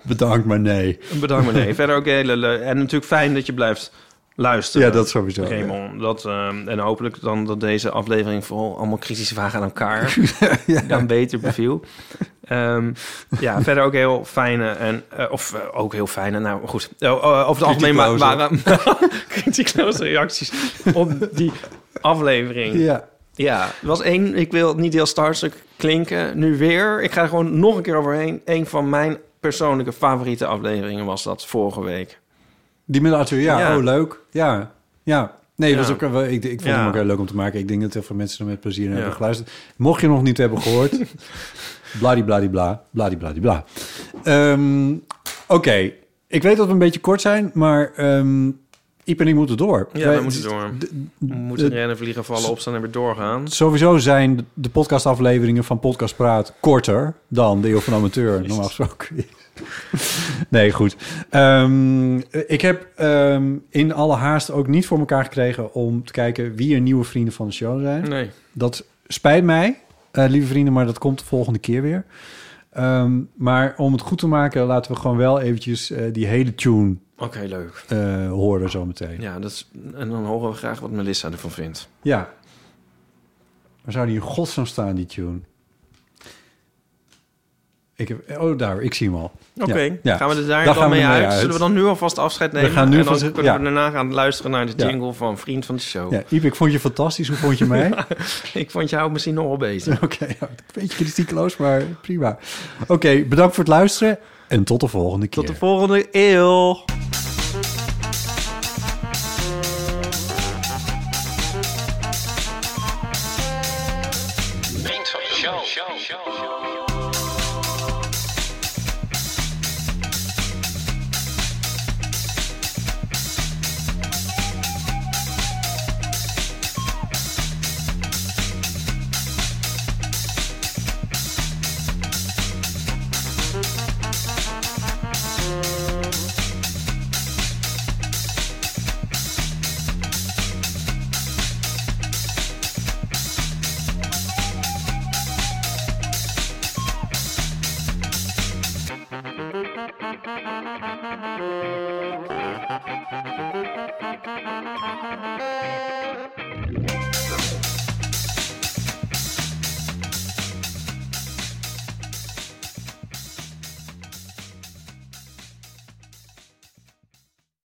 S4: bedankt, maar nee.
S3: Bedankt
S4: [LAUGHS]
S3: meneer. Verder ook hele le- En natuurlijk fijn dat je blijft luisteren.
S4: Ja, dat sowieso,
S3: Raymond. Dat, ehm, en hopelijk dan dat deze aflevering vooral allemaal kritische vragen aan
S4: [LAUGHS]
S3: elkaar dan beter beviel. Ehm, ja, verder ook heel fijne en... eh, of eh, ook heel fijne, nou goed. Eh, eh, over het algemeen wa- [LAUGHS] waren kritiekloze reacties op die aflevering.
S4: Ja.
S3: Ja, er was één. Ik wil niet heel starstruck klinken. Nu weer. Ik ga er gewoon nog een keer overheen. Eén van mijn persoonlijke favoriete afleveringen was dat vorige week.
S4: Die met Arthur, ja,
S3: Ja.
S4: oh, leuk. Ja, ja. Nee, dat
S3: Ja.
S4: was ook, wel- ik, ik vond
S3: Ja.
S4: hem ook heel leuk om te maken. Ik denk dat heel veel mensen er met plezier naar
S3: Ja.
S4: hebben geluisterd. Mocht je nog niet
S3: [LAUGHS]
S4: hebben gehoord, bladibladibla, bladibladibla. Ehm Oké, ik weet dat we een beetje kort zijn, maar ehm Iep en ik moeten door.
S3: Ja,
S4: Wij-
S3: we moeten door. We moeten
S4: de-
S3: rennen, vliegen, vallen, opstaan en weer doorgaan.
S4: Sowieso zijn de podcastafleveringen van Podcast Praat korter dan de Eeuw van de Amateur normaal gesproken. Nee, goed. Ehm, ik heb ehm, in alle haast ook niet voor elkaar gekregen om te kijken wie er nieuwe vrienden van de show zijn.
S3: Nee.
S4: Dat spijt mij, eh, lieve vrienden, maar dat komt de volgende keer weer. Ehm, maar om het goed te maken, laten we gewoon wel eventjes eh, die hele tune
S3: Oké, leuk.
S4: eh, horen zometeen. Ja.
S3: Ja, dat is, en dan horen we graag wat Melissa ervan vindt.
S4: Waar zou die in godsnaam staan, die tune? Ik heb, oh, daar, ik zie hem al.
S3: Oké,
S4: Ja, ja.
S3: gaan we er daar
S4: Daar
S3: dan
S4: gaan we
S3: mee
S4: mee
S3: uit?
S4: uit.
S3: Zullen we dan nu alvast afscheid nemen?
S4: gaan nu
S3: en dan
S4: van-
S3: kunnen we
S4: ja.
S3: daarna gaan luisteren naar de
S4: Ja.
S3: jingle van Vriend van de Show.
S4: Ja, Iep, ik vond je fantastisch. Hoe vond je mij?
S3: [LAUGHS] Ik vond jou misschien nog wel beter.
S4: Oké, ja, een beetje kritiekloos, maar prima. Oké, bedankt voor het luisteren en tot de volgende keer.
S3: Tot de volgende eeuw.